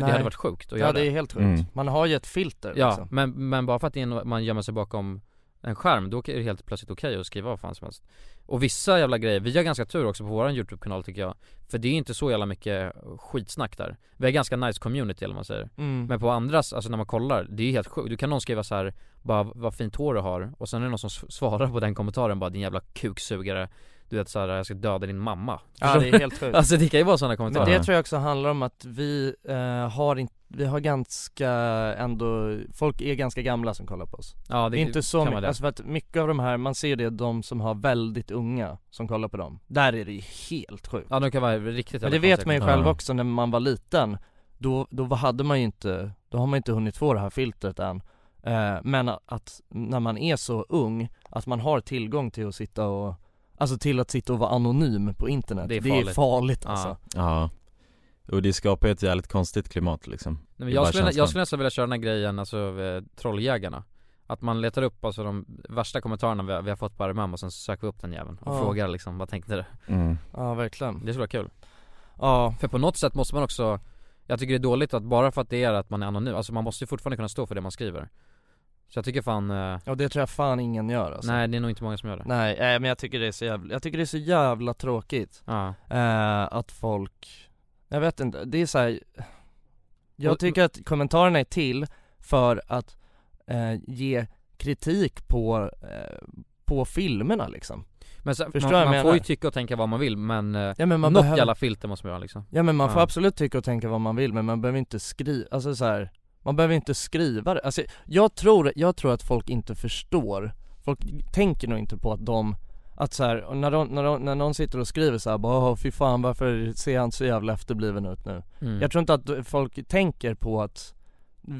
Speaker 5: Nej.
Speaker 2: det hade varit sjukt
Speaker 5: Ja
Speaker 2: att göra
Speaker 5: det är helt sjukt, man har ju ett filter
Speaker 2: Ja,
Speaker 5: liksom
Speaker 2: men, men bara för att det är en, man gömmer sig bakom en skärm, då är det helt plötsligt okej att skriva vad fan som helst Och vissa jävla grejer, vi har ganska tur också på våran YouTube-kanal tycker jag För det är inte så jävla mycket skitsnack där Vi har ganska nice community eller vad man säger
Speaker 5: Mm.
Speaker 2: Men på andras, alltså när man kollar, det är helt sjukt Du kan någon skriva så här, bara vad fint hår du har Och sen är det någon som s- svarar på den kommentaren bara din jävla kuksugare Du vet såhär, jag ska döda din mamma
Speaker 5: Ja det är helt
Speaker 2: *laughs*
Speaker 5: sjukt
Speaker 2: Alltså det kan ju vara sådana kommentarer
Speaker 5: Men det tror jag också handlar om att vi eh, har inte, vi har ganska ändå, folk är ganska gamla som kollar på oss
Speaker 2: Ja, det
Speaker 5: är inte så
Speaker 2: kan
Speaker 5: mycket,
Speaker 2: vara det.
Speaker 5: alltså för att mycket av de här, man ser det de som har väldigt unga som kollar på dem Där är det ju helt sjukt
Speaker 2: Ja de kan vara riktigt
Speaker 5: Men
Speaker 2: jävla
Speaker 5: det vet
Speaker 2: konstiga
Speaker 5: man ju
Speaker 2: kommentarer.
Speaker 5: själv också när man var liten Då, då hade man ju inte, då har man inte hunnit få det här filtret än eh, Men att när man är så ung, att man har tillgång till att sitta och Alltså till att sitta och vara anonym på internet
Speaker 2: Det är
Speaker 5: Det är
Speaker 2: farligt.
Speaker 5: farligt
Speaker 2: Ja.
Speaker 5: alltså
Speaker 1: Ja Och det skapar ju ett jävligt konstigt klimat liksom
Speaker 2: Nej, men
Speaker 1: Det är
Speaker 2: jag,
Speaker 1: bara
Speaker 2: skulle,
Speaker 1: känslan.
Speaker 2: jag skulle nästan vilja köra den här grejen, alltså eh, trolljägarna Att man letar upp alltså de värsta kommentarerna vi har, vi har fått på RMM och sen så söker vi upp den jäveln och
Speaker 5: Ja.
Speaker 2: frågar liksom, vad tänkte du?
Speaker 1: Mm.
Speaker 5: Ja verkligen
Speaker 2: Det skulle vara kul
Speaker 5: Ja
Speaker 2: För på något sätt måste man också Jag tycker det är dåligt att bara för att det är att man är anonym, alltså man måste ju fortfarande kunna stå för det man skriver Så jag tycker fan, eh,
Speaker 5: Ja det tror jag fan ingen gör alltså
Speaker 2: nej det är nog inte många som gör det
Speaker 5: Nej, nej men jag tycker det är så jävla, jag tycker det är så jävla tråkigt
Speaker 2: Ja.
Speaker 5: eh, Att folk, jag vet inte, det är så här. Jag
Speaker 2: Och-
Speaker 5: tycker att kommentarerna är till för att eh, ge kritik på, eh, på filmerna liksom
Speaker 2: Men så,
Speaker 5: Förstår
Speaker 2: man,
Speaker 5: jag
Speaker 2: man
Speaker 5: menar?
Speaker 2: får ju tycka och tänka vad man vill men, eh,
Speaker 5: Ja, men man
Speaker 2: något
Speaker 5: behöver-
Speaker 2: jävla filter måste man ha liksom
Speaker 5: Ja men man får absolut tycka och tänka vad man vill men man behöver inte skriva, alltså så här, man behöver inte skriva det. Alltså, jag tror, jag tror att folk inte förstår, folk tänker nog inte på att de att så här, och när, de, när, de, när någon sitter och skriver så här, bara "Åh, fy fan varför ser han så jävla efterbliven ut nu?
Speaker 2: Mm.
Speaker 5: Jag tror inte att folk tänker på att,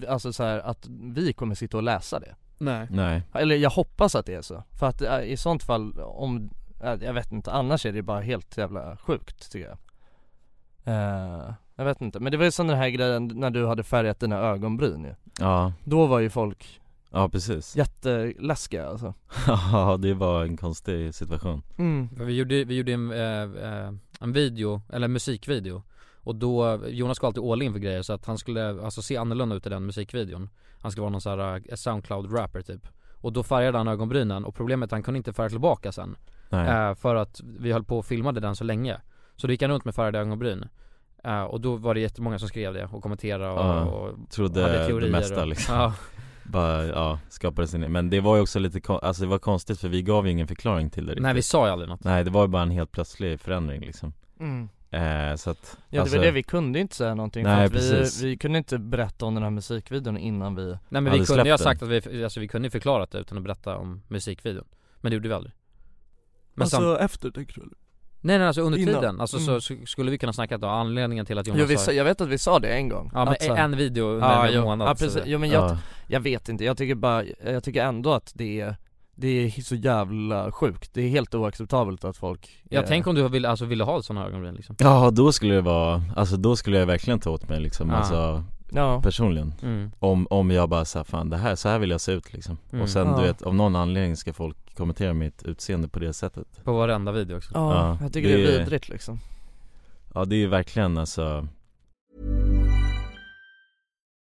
Speaker 5: alltså så här, att vi kommer sitta och läsa det
Speaker 2: Nej
Speaker 1: Nej
Speaker 5: Eller jag hoppas att det är så, för att eh, i sånt fall om, eh, jag vet inte, annars är det bara helt jävla sjukt tycker jag Eh, Jag vet inte, men det var ju som den här grejen när du hade färgat dina ögonbryn ju
Speaker 1: Ja,
Speaker 5: Då var ju folk
Speaker 1: ja precis
Speaker 5: jätteläskiga alltså
Speaker 1: *laughs* Ja det var en konstig situation
Speaker 5: Mm.
Speaker 2: För Vi gjorde, vi gjorde en, eh, eh, en video, eller en musikvideo Och då, Jonas går alltid all in för grejer så att han skulle alltså se annorlunda ut i den musikvideon Han skulle vara någon sån här eh, Soundcloud-rapper typ Och då färgade han ögonbrynen och problemet är att han kunde inte färga tillbaka sen
Speaker 1: Nej.
Speaker 2: Eh, För att vi höll på och filmade den så länge Så då gick han runt med färgade ögonbryn Eh, och då var det jättemånga som skrev det och kommenterade och,
Speaker 1: Ja,
Speaker 2: och hade
Speaker 1: trodde
Speaker 2: teorier
Speaker 1: det mesta
Speaker 2: och,
Speaker 1: liksom
Speaker 2: Ja,
Speaker 1: Bara, ja, skapade sin Men det var ju också lite, kon- alltså det var konstigt för vi gav ju ingen förklaring till det riktigt.
Speaker 2: nej vi sa ju aldrig något
Speaker 1: Nej det var ju bara en helt plötslig förändring liksom
Speaker 5: Mm.
Speaker 1: eh, Så att,
Speaker 5: Ja
Speaker 1: alltså,
Speaker 5: det var det, vi kunde inte säga någonting
Speaker 1: Nej,
Speaker 5: för att
Speaker 1: precis.
Speaker 5: vi, vi kunde inte berätta om den här musikvideon innan vi
Speaker 2: Nej men
Speaker 1: Hade
Speaker 2: vi kunde
Speaker 1: släppt
Speaker 2: ju ha
Speaker 1: den.
Speaker 2: sagt att vi, alltså vi kunde ju förklarat det utan att berätta om musikvideon Men det gjorde vi aldrig men sam-
Speaker 5: efter tänker du?
Speaker 2: Nej nej alltså under
Speaker 5: Alltså, innan. Mm.
Speaker 2: tiden, alltså så, så skulle vi kunna snacka om anledningen till att Jonas
Speaker 5: Jo, vi,
Speaker 2: sa-
Speaker 5: sa- jag vet att vi sa det en gång
Speaker 2: Ja, men
Speaker 5: Att så här-
Speaker 2: en video under
Speaker 5: ja,
Speaker 2: en
Speaker 5: jo,
Speaker 2: månad,
Speaker 5: Ja
Speaker 2: så
Speaker 5: precis,
Speaker 2: det-
Speaker 5: jo, men jag,
Speaker 2: Ja.
Speaker 5: jag vet inte, jag tycker bara, jag tycker ändå att det är det är så jävla sjukt, det är helt oacceptabelt att folk
Speaker 2: Ja
Speaker 5: eh,
Speaker 2: tänk om du ville, alltså, ville ha sådana ögonbryn liksom
Speaker 1: Ja då skulle det vara, alltså då skulle jag verkligen ta åt mig liksom,
Speaker 2: Ja.
Speaker 1: alltså
Speaker 5: Ja.
Speaker 1: personligen
Speaker 2: Mm.
Speaker 1: om, om jag bara såhär, fan det här, så här vill jag se ut liksom
Speaker 2: Mm.
Speaker 1: Och sen
Speaker 5: Ja.
Speaker 1: du vet, av någon anledning ska folk kommentera mitt utseende på det sättet
Speaker 2: På varenda video också
Speaker 5: ja,
Speaker 1: Ja,
Speaker 5: jag tycker det,
Speaker 1: det
Speaker 5: är
Speaker 1: är-
Speaker 5: vidrigt liksom
Speaker 7: Ja det är ju verkligen alltså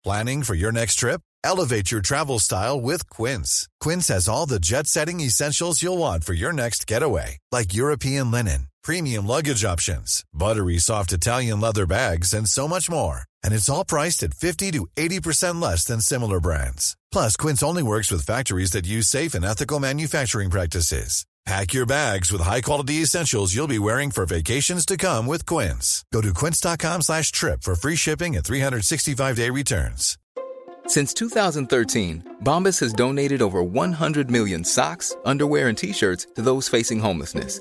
Speaker 8: Planning for your next trip? Elevate your travel style with Quince. Quince has all the jet setting essentials you'll want for your next getaway, like European linen, premium luggage options, buttery soft Italian leather bags, and so much more. And it's all priced at 50 to 80% less than similar brands. Plus, Quince only works with factories that use safe and ethical manufacturing practices. Pack your bags with high-quality essentials you'll be wearing for vacations to come with Quince. Go to quince.com slash trip for free shipping and 365-day returns.
Speaker 9: Since 2013, Bombas has donated over 100 million socks, underwear, and t-shirts to those facing homelessness.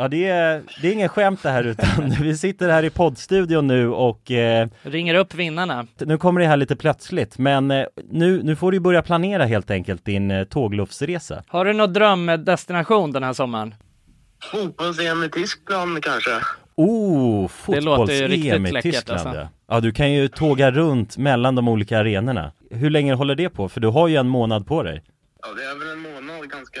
Speaker 1: Ja, det är, det är ingen skämt det här utan *laughs* vi sitter här i poddstudion nu och eh,
Speaker 5: Ringer upp vinnarna.
Speaker 1: nu kommer det här lite plötsligt men eh, nu, nu får du börja planera helt enkelt din eh, tågluffsresa.
Speaker 5: Har du någon drömdestination den här sommaren?
Speaker 10: Fotbolls-EM i Tyskland kanske?
Speaker 1: Oh,
Speaker 5: Det låter ju
Speaker 1: fotbolls-EM
Speaker 5: riktigt
Speaker 1: i
Speaker 5: läckert,
Speaker 1: Tyskland
Speaker 5: alltså.
Speaker 1: ja. ja, du kan ju tåga runt mellan de olika arenorna. Hur länge håller det på? För du har ju en månad på dig.
Speaker 10: Ja, det är väl en månad ganska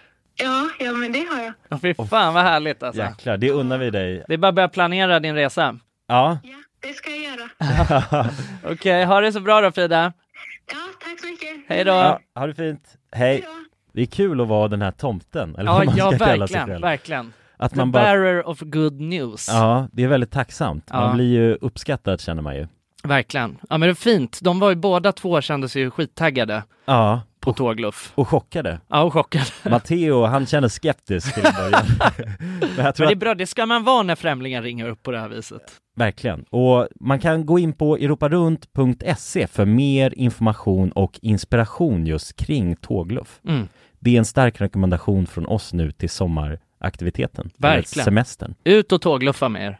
Speaker 11: Ja, ja, men det har jag.
Speaker 5: Ja. Fy fan vad härligt alltså.
Speaker 1: Jäklar, det unnar vi dig.
Speaker 5: Det är bara att börja planera din resa.
Speaker 1: Ja.
Speaker 11: Det ska jag göra.
Speaker 5: Okej, ha det så bra då Frida.
Speaker 11: Tack så mycket.
Speaker 5: Hej då.
Speaker 1: ja ha det fint. Hej. Det är kul att vara den här tomten, eller
Speaker 5: Ja,
Speaker 1: vad man
Speaker 5: ja
Speaker 1: ska kalla sig
Speaker 5: verkligen,
Speaker 1: själv.
Speaker 5: verkligen.
Speaker 1: Att
Speaker 5: The
Speaker 1: man bara-
Speaker 5: bearer of good news.
Speaker 1: Ja, det är väldigt tacksamt.
Speaker 5: Ja.
Speaker 1: Man blir ju uppskattad känner man ju.
Speaker 5: Verkligen. Ja men det är fint. De var ju båda två kände sig ju skittaggade.
Speaker 1: Ja,
Speaker 9: på tågluff.
Speaker 1: Och chockade.
Speaker 9: Ja, och chockade.
Speaker 1: Matteo, han kände skeptisk till en
Speaker 9: *laughs*
Speaker 1: början. Men jag tror
Speaker 9: Men det är
Speaker 1: att-
Speaker 9: bra, det ska man vara när främlingar ringer upp på det här viset.
Speaker 1: Verkligen. Och man kan gå in på europarunt.se E för mer information och inspiration just kring tågluff.
Speaker 9: Mm.
Speaker 1: Det är en stark rekommendation från oss nu till sommaraktiviteten. eller
Speaker 9: Verkligen.
Speaker 1: Semestern.
Speaker 9: Ut och tågluffa med er.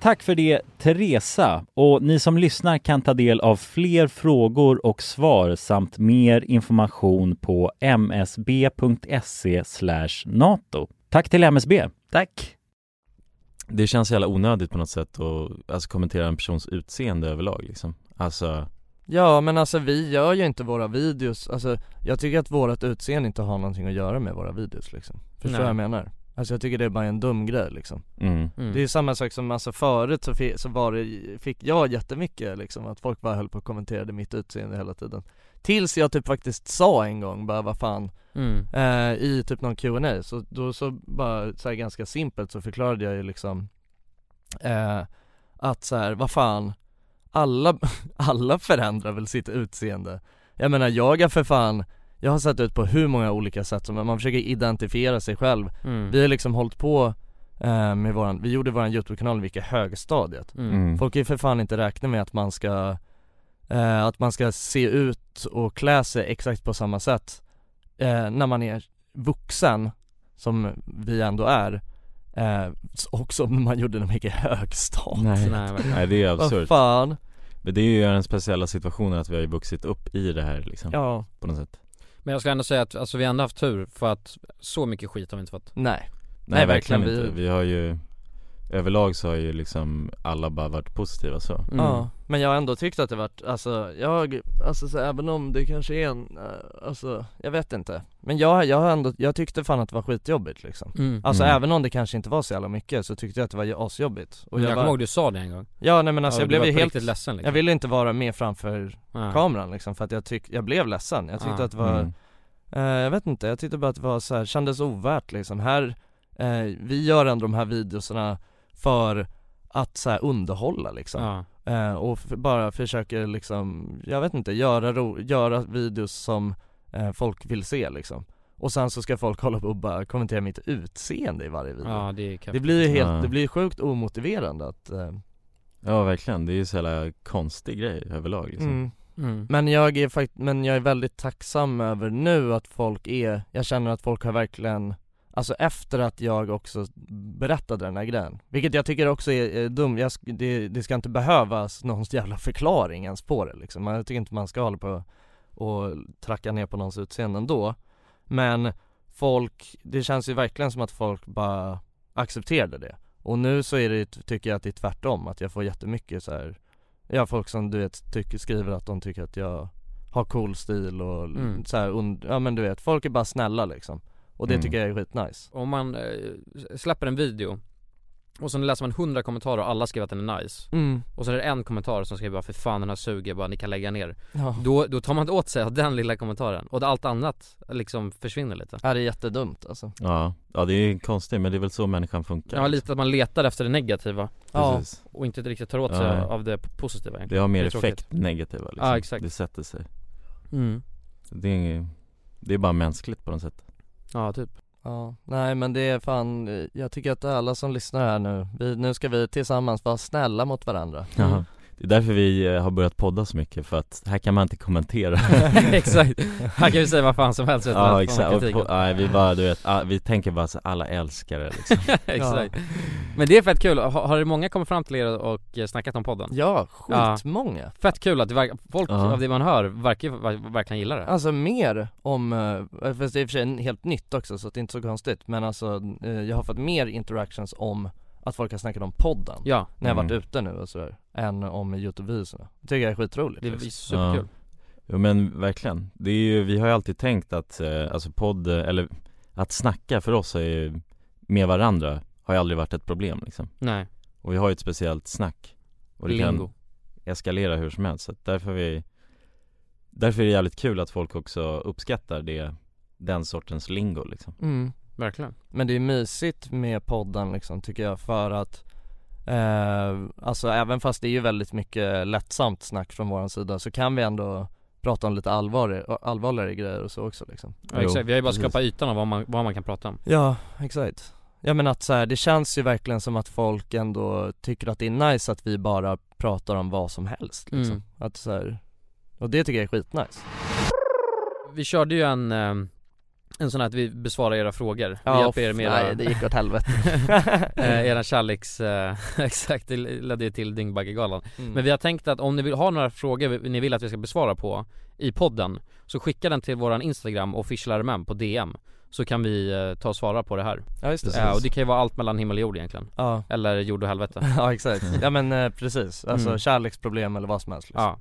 Speaker 1: Tack för det Teresa och ni som lyssnar kan ta del av fler frågor och svar samt mer information på msb.se E nato. Tack till MSB!
Speaker 9: Tack!
Speaker 12: Det känns jävla onödigt på något sätt att alltså, kommentera en persons utseende överlag liksom Alltså,
Speaker 5: Ja men alltså vi gör ju inte våra videos, alltså jag tycker att vårat utseende inte har någonting att göra med våra videos liksom Förstår
Speaker 12: Nej.
Speaker 5: vad jag menar? Alltså jag tycker det är bara en dum grej liksom
Speaker 12: Mm.
Speaker 5: Det är ju samma sak som alltså förut så, fi- så var det, fick jag jättemycket liksom att folk bara höll på och kommenterade mitt utseende hela tiden Tills jag typ faktiskt sa en gång bara vad fan
Speaker 13: Mm.
Speaker 5: eh, I typ någon Q&A så då så bara så här ganska simpelt så förklarade jag ju liksom eh, Att så här, vad fan alla, *laughs* alla förändrar väl sitt utseende Jag menar jag är för fan Jag har sett ut på hur många olika sätt som man försöker identifiera sig själv
Speaker 13: Mm.
Speaker 5: Vi har liksom hållit på eh, med våran, vi gjorde våran YouTube-kanal när vi gick i högstadiet
Speaker 13: Mm. Mm.
Speaker 5: Folk är ju för fan inte räkna med att man ska eh, Att man ska se ut och klä sig exakt på samma sätt eh, När man är vuxen Som vi ändå är eh, Och som man gjorde när man gick i högstadiet
Speaker 12: Nej det är
Speaker 5: Vad
Speaker 12: absurt
Speaker 5: fan
Speaker 12: Men det är ju den speciella situationen att vi har ju vuxit upp i det här liksom
Speaker 5: Ja.
Speaker 12: På något sätt
Speaker 13: Men jag skulle ändå säga att alltså, vi har ändå haft tur för att så mycket skit har vi inte fått.
Speaker 5: Nej.
Speaker 12: Nej, verkligen, inte, vi har ju Överlag så har ju liksom alla bara varit positiva så
Speaker 1: Mm.
Speaker 5: Ja, men jag har ändå tyckt att det varit, alltså jag, alltså så även om det kanske är en, eh, alltså jag vet inte Men jag, jag har ändå, jag tyckte fan att det var skitjobbigt liksom
Speaker 13: Mm.
Speaker 5: Alltså
Speaker 13: Mm.
Speaker 5: även om det kanske inte var så jävla mycket så tyckte jag att det var ju asjobbigt
Speaker 13: Men jag
Speaker 5: bara-
Speaker 13: kommer ihåg du sa det en gång.
Speaker 5: Ja nej men alltså
Speaker 13: Ja,
Speaker 5: jag
Speaker 13: du
Speaker 5: blev
Speaker 13: var
Speaker 5: ju
Speaker 13: på
Speaker 5: helt
Speaker 13: riktigt ledsen, liksom.
Speaker 5: Jag ville inte vara med framför
Speaker 13: Nej.
Speaker 5: kameran liksom för att jag tyck, jag blev ledsen, jag tyckte
Speaker 13: Ah.
Speaker 5: att det var
Speaker 13: Mm.
Speaker 5: eh, Jag vet inte, jag tyckte bara att det var så här, kändes ovärt liksom här eh, Vi gör ändå de här videorna för att så här, underhålla liksom
Speaker 13: Ja.
Speaker 5: Eh, och f- bara försöker liksom, jag vet inte, göra, ro- göra videos som eh, folk vill se liksom. Och sen så ska folk hålla på och bara kommentera mitt utseende i varje video.
Speaker 2: Ja, det är
Speaker 5: det
Speaker 2: kaffe.
Speaker 5: blir ju helt,
Speaker 1: Ja.
Speaker 5: det blir ju sjukt omotiverande att eh,
Speaker 1: Ja verkligen, det är ju så jävla konstig grej överlag liksom.
Speaker 5: Mm.
Speaker 2: Mm.
Speaker 5: Men jag är fakt- men jag är väldigt tacksam över nu att folk är, jag känner att folk har verkligen Alltså efter att jag också berättade den här grejen, vilket jag tycker också är, är dumt, jag, sk- det, det ska inte behövas någons jävla förklaring ens på det liksom, jag tycker inte man ska hålla på och tracka ner på någons utseende ändå Men folk, det känns ju verkligen som att folk bara accepterade det Och nu så är det, tycker jag att det är tvärtom, att jag får jättemycket så här Ja folk som du vet tycker, skriver att de tycker att jag har cool stil och l-
Speaker 2: Mm.
Speaker 5: så här, und- ja men du vet, folk är bara snälla liksom Och det
Speaker 1: Mm.
Speaker 5: tycker jag är skitnice
Speaker 2: Om man eh, släpper en video och sen läser man 100 kommentarer och alla skriver att den är nice
Speaker 5: Mm.
Speaker 2: Och sen är det en kommentar som skriver bara för fan den här suger, bara ni kan lägga ner
Speaker 5: Ja.
Speaker 2: då, då tar man åt sig av den lilla kommentaren och allt annat liksom försvinner lite
Speaker 5: Ja det är jättedumt alltså
Speaker 1: Ja, ja det är ju konstigt men det är väl så människan funkar
Speaker 2: Ja lite att man letar efter det negativa
Speaker 1: Ja. Precis.
Speaker 2: Och inte riktigt tar åt sig
Speaker 1: Ja.
Speaker 2: av det positiva egentligen.
Speaker 1: Det har mer
Speaker 2: är tråkigt.
Speaker 1: effekt negativa liksom.
Speaker 2: Ja exakt
Speaker 1: Det sätter sig
Speaker 2: Mm.
Speaker 1: det, är, inget- det är bara mänskligt på något sätt
Speaker 2: Ja typ
Speaker 5: Ja, nej men det är fan, eh, jag tycker att alla som lyssnar här nu, vi, nu ska vi tillsammans vara snälla mot varandra
Speaker 1: Ja. Mm. Det är därför vi eh, har börjat podda så mycket för att här kan man inte kommentera
Speaker 2: *laughs* Mm. Exakt, här kan vi säga vad fan som helst utan
Speaker 1: *laughs*
Speaker 2: att
Speaker 1: Ja
Speaker 2: få
Speaker 1: exakt,
Speaker 2: någon
Speaker 1: och
Speaker 2: kritik.
Speaker 1: på, nej, vi bara du vet, ah, vi tänker bara så alla älskar det liksom
Speaker 2: *laughs* Exakt Men det är fett kul, har, har det många kommit fram till er och eh, snackat om podden?
Speaker 5: Ja, skitmånga
Speaker 2: Fett kul att det verkar, folk
Speaker 5: Ja.
Speaker 2: av det man hör verkar ju ver- verkligen gilla det
Speaker 5: Alltså mer om, eh, fast det är i och för sig en- helt nytt också så att det är inte så konstigt Men alltså, eh, jag har fått mer interactions om att folk har snackat om podden
Speaker 2: Ja.
Speaker 5: När jag
Speaker 1: Mm.
Speaker 5: varit ute nu och sådär, än om Youtube-videorna Det tycker jag är skitroligt
Speaker 2: Det är
Speaker 5: liksom.
Speaker 2: superkul.
Speaker 1: Jo men verkligen, det är ju, vi har ju alltid tänkt att, eh, alltså podd, eh, eller att snacka för oss är ju, med varandra har ju aldrig varit ett problem liksom
Speaker 2: Nej.
Speaker 1: Och vi har ju ett speciellt snack Och det
Speaker 2: Lingo.
Speaker 1: kan eskalera hur som helst, så att därför vi Därför är det jävligt kul att folk också uppskattar det, den sortens lingo liksom
Speaker 5: Mm.
Speaker 2: Verkligen
Speaker 5: Men det är mysigt med podden liksom tycker jag för att eh, Alltså även fast det är ju väldigt mycket lättsamt snack från våran sida så kan vi ändå prata om lite allvar, allvarligare grejer och så också liksom
Speaker 2: ja, exakt. Vi har ju bara
Speaker 5: precis.
Speaker 2: skapat ytan av vad man, vad man kan prata om
Speaker 5: Ja, exakt Ja men att så här, det känns ju verkligen som att folk ändå tycker att det är nice att vi bara pratar om vad som helst liksom
Speaker 2: Mm.
Speaker 5: Att så här, och det tycker jag är skitnice
Speaker 2: Vi körde ju en, eh, en sån här att vi besvarar era frågor,
Speaker 5: Ja,
Speaker 2: vi hjälper er med era...
Speaker 5: nej, det gick åt helvete.
Speaker 2: *laughs* eh, Era kärleks, eh, *laughs* exakt, det ledde ju till Dyngbaggegalan
Speaker 5: *laughs* Mm.
Speaker 2: Men vi har tänkt att om ni vill ha några frågor vi- ni vill att vi ska besvara på i podden Så skicka den till våran Instagram, officialrmm på DM Så kan vi eh, ta och svara på det här
Speaker 5: Ja, just det.
Speaker 2: Eh, Och det kan ju vara allt mellan himmel och jord egentligen
Speaker 5: Ja. *laughs*
Speaker 2: Eller jord och helvete
Speaker 5: Ja exakt, ja men eh, precis, alltså
Speaker 2: Mm.
Speaker 5: kärleksproblem eller vad som helst liksom.
Speaker 2: Ja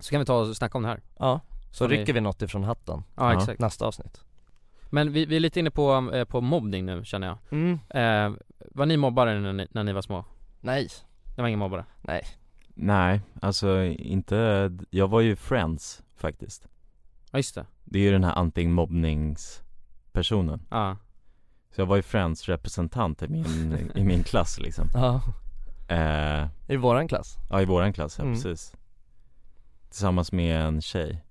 Speaker 2: Så kan vi ta och snacka om det här
Speaker 5: Ja, så
Speaker 2: Om ni-
Speaker 5: rycker vi något ifrån hatten
Speaker 2: Ja, exakt.
Speaker 5: Nästa avsnitt
Speaker 2: Men vi, vi är lite inne på, eh, på mobbning nu känner jag
Speaker 5: Mm.
Speaker 2: eh, Var ni mobbare när ni, när ni var små?
Speaker 5: Nej
Speaker 2: Det var ingen mobbare?
Speaker 5: Nej
Speaker 1: Nej, alltså inte, jag var ju friends faktiskt
Speaker 2: Ja just det,
Speaker 1: Det är ju den här anti-mobbningspersonen
Speaker 2: Ja.
Speaker 1: Så jag var ju friends representant i min, i min klass
Speaker 2: *laughs*
Speaker 1: liksom
Speaker 5: Ja.
Speaker 1: eh,
Speaker 5: I våran klass
Speaker 1: Ja i våran klass, ja
Speaker 5: Mm.
Speaker 1: precis Tillsammans med en tjej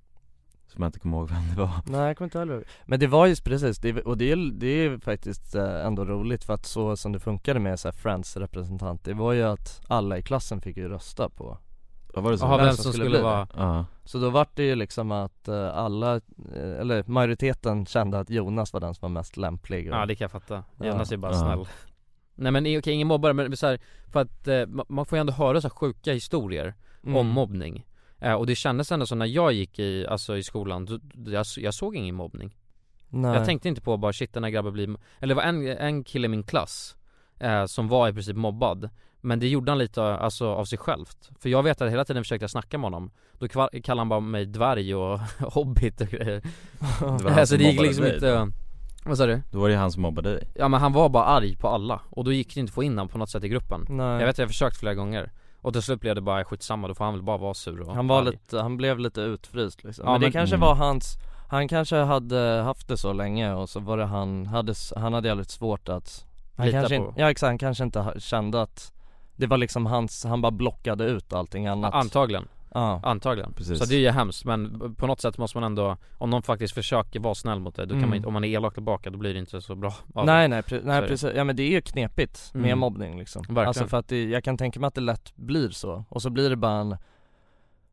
Speaker 1: Som jag inte kommer ihåg vem det var
Speaker 5: Nej jag kommer inte heller ihåg. Men det var ju precis, det, och det, är- det är ju faktiskt eh, ändå roligt för att så som det funkade med så här Friends representant Det var ju att alla i klassen fick ju rösta på
Speaker 1: Vad var det så?
Speaker 2: Jaha, vem som skulle
Speaker 5: bli
Speaker 2: vara-
Speaker 5: det.
Speaker 2: *laughs*
Speaker 1: Ja.
Speaker 5: Så då var det ju liksom att eh, alla, eh, eller majoriteten kände att Jonas var den som var mest lämplig och-
Speaker 2: ja det kan jag fatta,
Speaker 5: Ja.
Speaker 2: Jonas är bara
Speaker 5: Ja.
Speaker 2: snäll Nej men okej, ingen mobbare men så här, för att eh, ma- man får ju ändå höra så här sjuka historier
Speaker 5: Mm.
Speaker 2: om mobbning eh, Och det kändes ändå så när jag gick i, alltså i skolan, då, då- jag, jag såg ingen mobbning
Speaker 5: Nej.
Speaker 2: Jag tänkte inte på bara shit den här grabben blir, eller det var en, en kille i min klass eh, Som var i princip mobbad Men det gjorde han lite alltså, av sig självt För jag vet att hela tiden försökte jag snacka med honom Då kvar- kallade han bara mig dvärg och *laughs* hobbit och grejer
Speaker 1: Det var han
Speaker 2: Så
Speaker 1: som
Speaker 2: det gick
Speaker 1: mobbade
Speaker 2: liksom
Speaker 1: dig
Speaker 2: inte
Speaker 1: då.
Speaker 2: Vad sa du?
Speaker 1: Då var det ju han som mobbade dig
Speaker 2: Ja men han var bara arg på alla och då gick det inte att få in honom på något sätt i gruppen
Speaker 5: Nej.
Speaker 2: Jag vet att jag försökt flera gånger Och till slut blev det bara skitsamma, då får han väl bara vara sur och
Speaker 5: Han var
Speaker 2: arg.
Speaker 5: lite, han blev lite utfryst liksom.
Speaker 2: Ja,
Speaker 5: men,
Speaker 2: men-
Speaker 5: det kanske
Speaker 2: Mm.
Speaker 5: var hans, han kanske hade haft det så länge och så var det han, hade, s- han hade jävligt svårt att han
Speaker 2: Lita
Speaker 5: kanske
Speaker 2: på.
Speaker 5: in- Ja exakt, han kanske inte ha- kände att Det var liksom hans, han bara blockade ut allting annat
Speaker 2: Antagligen.
Speaker 5: Ja.
Speaker 2: Antagligen.
Speaker 5: Precis.
Speaker 2: Så det är ju hemskt men på något sätt måste man ändå, om någon faktiskt försöker vara snäll mot dig, då kan
Speaker 5: Mm.
Speaker 2: man inte, om man är elak tillbaka då blir det inte så bra av det.
Speaker 5: Nej nej, pre-
Speaker 2: Så är
Speaker 5: nej
Speaker 2: det.
Speaker 5: precis, ja men det är ju knepigt med
Speaker 2: Mm.
Speaker 5: mobbning liksom
Speaker 2: Verkligen.
Speaker 5: Alltså för att det, jag kan tänka mig att det lätt blir så, och så blir det bara en,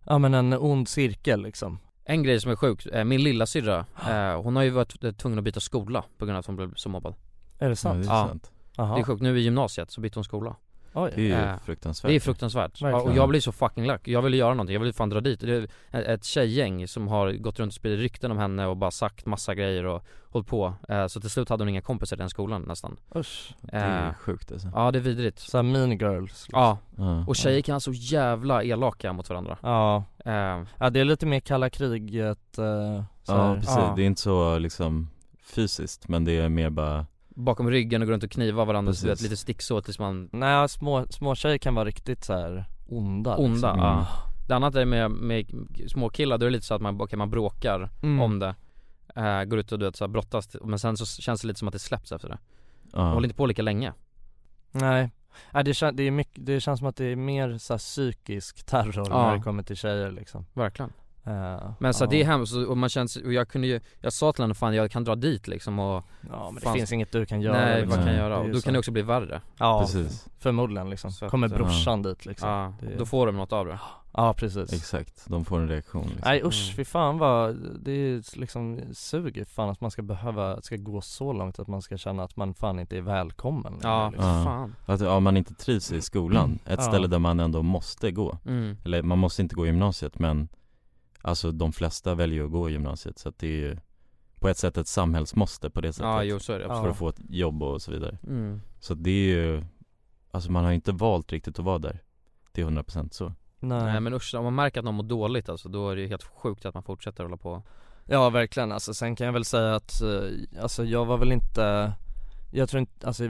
Speaker 5: ja men en ond cirkel liksom
Speaker 2: En grej som är sjuk, eh, min lilla syrra, eh, hon har ju varit eh, tvungen att byta skola på grund av att hon blev så mobbad
Speaker 5: Är det sant?
Speaker 2: Ja,
Speaker 5: Ja, det är
Speaker 2: det är,
Speaker 5: sant. Aha.
Speaker 2: sjukt, nu i gymnasiet så bytte hon skola
Speaker 5: Oj.
Speaker 1: Det är ju
Speaker 2: Eh,
Speaker 1: fruktansvärt.
Speaker 2: Det är fruktansvärt, ja, och
Speaker 1: Verkligen.
Speaker 2: jag blir så fucking lack, jag vill göra någonting, jag vill fan dra dit Det är ett tjejgäng som har gått runt och spridit rykten om henne och bara sagt massa grejer och hållit på Eh, Så till slut hade hon inga kompisar i den skolan nästan
Speaker 5: Usch,
Speaker 1: det är
Speaker 2: Eh,
Speaker 1: sjukt alltså.
Speaker 2: Ja det är vidrigt
Speaker 5: Såhär mean girls
Speaker 2: Ja,
Speaker 1: Ja.
Speaker 2: och tjejer kan vara så jävla elaka mot varandra
Speaker 5: Ja,
Speaker 2: Eh,
Speaker 5: ja det är lite mer kalla kriget eh, så
Speaker 1: Ja
Speaker 5: här.
Speaker 1: precis, det är inte så liksom fysiskt men det är mer bara
Speaker 2: Bakom ryggen och går runt och knivar varandra, så du vet,
Speaker 1: Precis.
Speaker 2: lite sticksår tills man
Speaker 5: Nej, små, små tjejer kan vara riktigt så här onda
Speaker 2: Onda,
Speaker 1: Mm.
Speaker 5: liksom.
Speaker 2: ja. Det annat är med, med småkillar, då är det lite så att man, okej, man bråkar
Speaker 5: Mm.
Speaker 2: om det eh, Går ut och du vet, så här, brottas, men sen så känns det lite som att det släpps efter det
Speaker 1: Ja.
Speaker 2: Man håller inte på lika länge
Speaker 5: Nej, Nej det, kän, det, är mycket, det känns som att det är mer så här psykisk terror
Speaker 2: Ja.
Speaker 5: när det kommer till tjejer liksom
Speaker 2: Verkligen
Speaker 5: Eh,
Speaker 2: Men så
Speaker 5: ja.
Speaker 2: här, det är hemskt och- och man känns, och jag kunde ju, jag sa till henne fan jag kan dra dit liksom och
Speaker 5: Ja men det
Speaker 2: fan-
Speaker 5: finns inget du kan göra
Speaker 2: Nej
Speaker 5: liksom.
Speaker 2: vad kan jag
Speaker 5: Det
Speaker 2: göra?
Speaker 5: är
Speaker 2: Och
Speaker 5: ju
Speaker 2: då
Speaker 5: så.
Speaker 2: kan det också bli värre
Speaker 5: Ja,
Speaker 1: Precis.
Speaker 5: förmodligen liksom
Speaker 2: Så att,
Speaker 5: Kommer
Speaker 2: ja.
Speaker 5: brorsan dit liksom
Speaker 2: Ja,
Speaker 5: Det är-
Speaker 2: då får de något av det
Speaker 5: Ja precis
Speaker 1: Exakt, de får en reaktion liksom.
Speaker 5: Nej usch,
Speaker 2: Mm.
Speaker 5: fy fan vad, det är liksom, suger fan att man ska behöva, ska gå så långt att man ska känna att man fan inte är välkommen längre,
Speaker 2: Ja,
Speaker 5: liksom.
Speaker 1: Att ja, man inte trivs i skolan, ett
Speaker 5: Ja.
Speaker 1: ställe där man ändå måste gå
Speaker 2: Mm.
Speaker 1: Eller man måste inte gå i gymnasiet men Alltså de flesta väljer att gå i gymnasiet så att det är ju På ett sätt ett samhällsmåste på det sättet
Speaker 2: Ja, jo, så är det,
Speaker 1: För
Speaker 2: absolut.
Speaker 1: att få ett jobb och så vidare
Speaker 2: Mm.
Speaker 1: Så att det är ju Alltså man har ju inte valt riktigt att vara där Till 100% så
Speaker 2: Nej. men usch, om man märker att någon mår dåligt alltså, då är det ju helt sjukt att man fortsätter hålla på
Speaker 5: Ja verkligen, alltså sen kan jag väl säga att, eh, alltså jag var väl inte, jag tror inte, alltså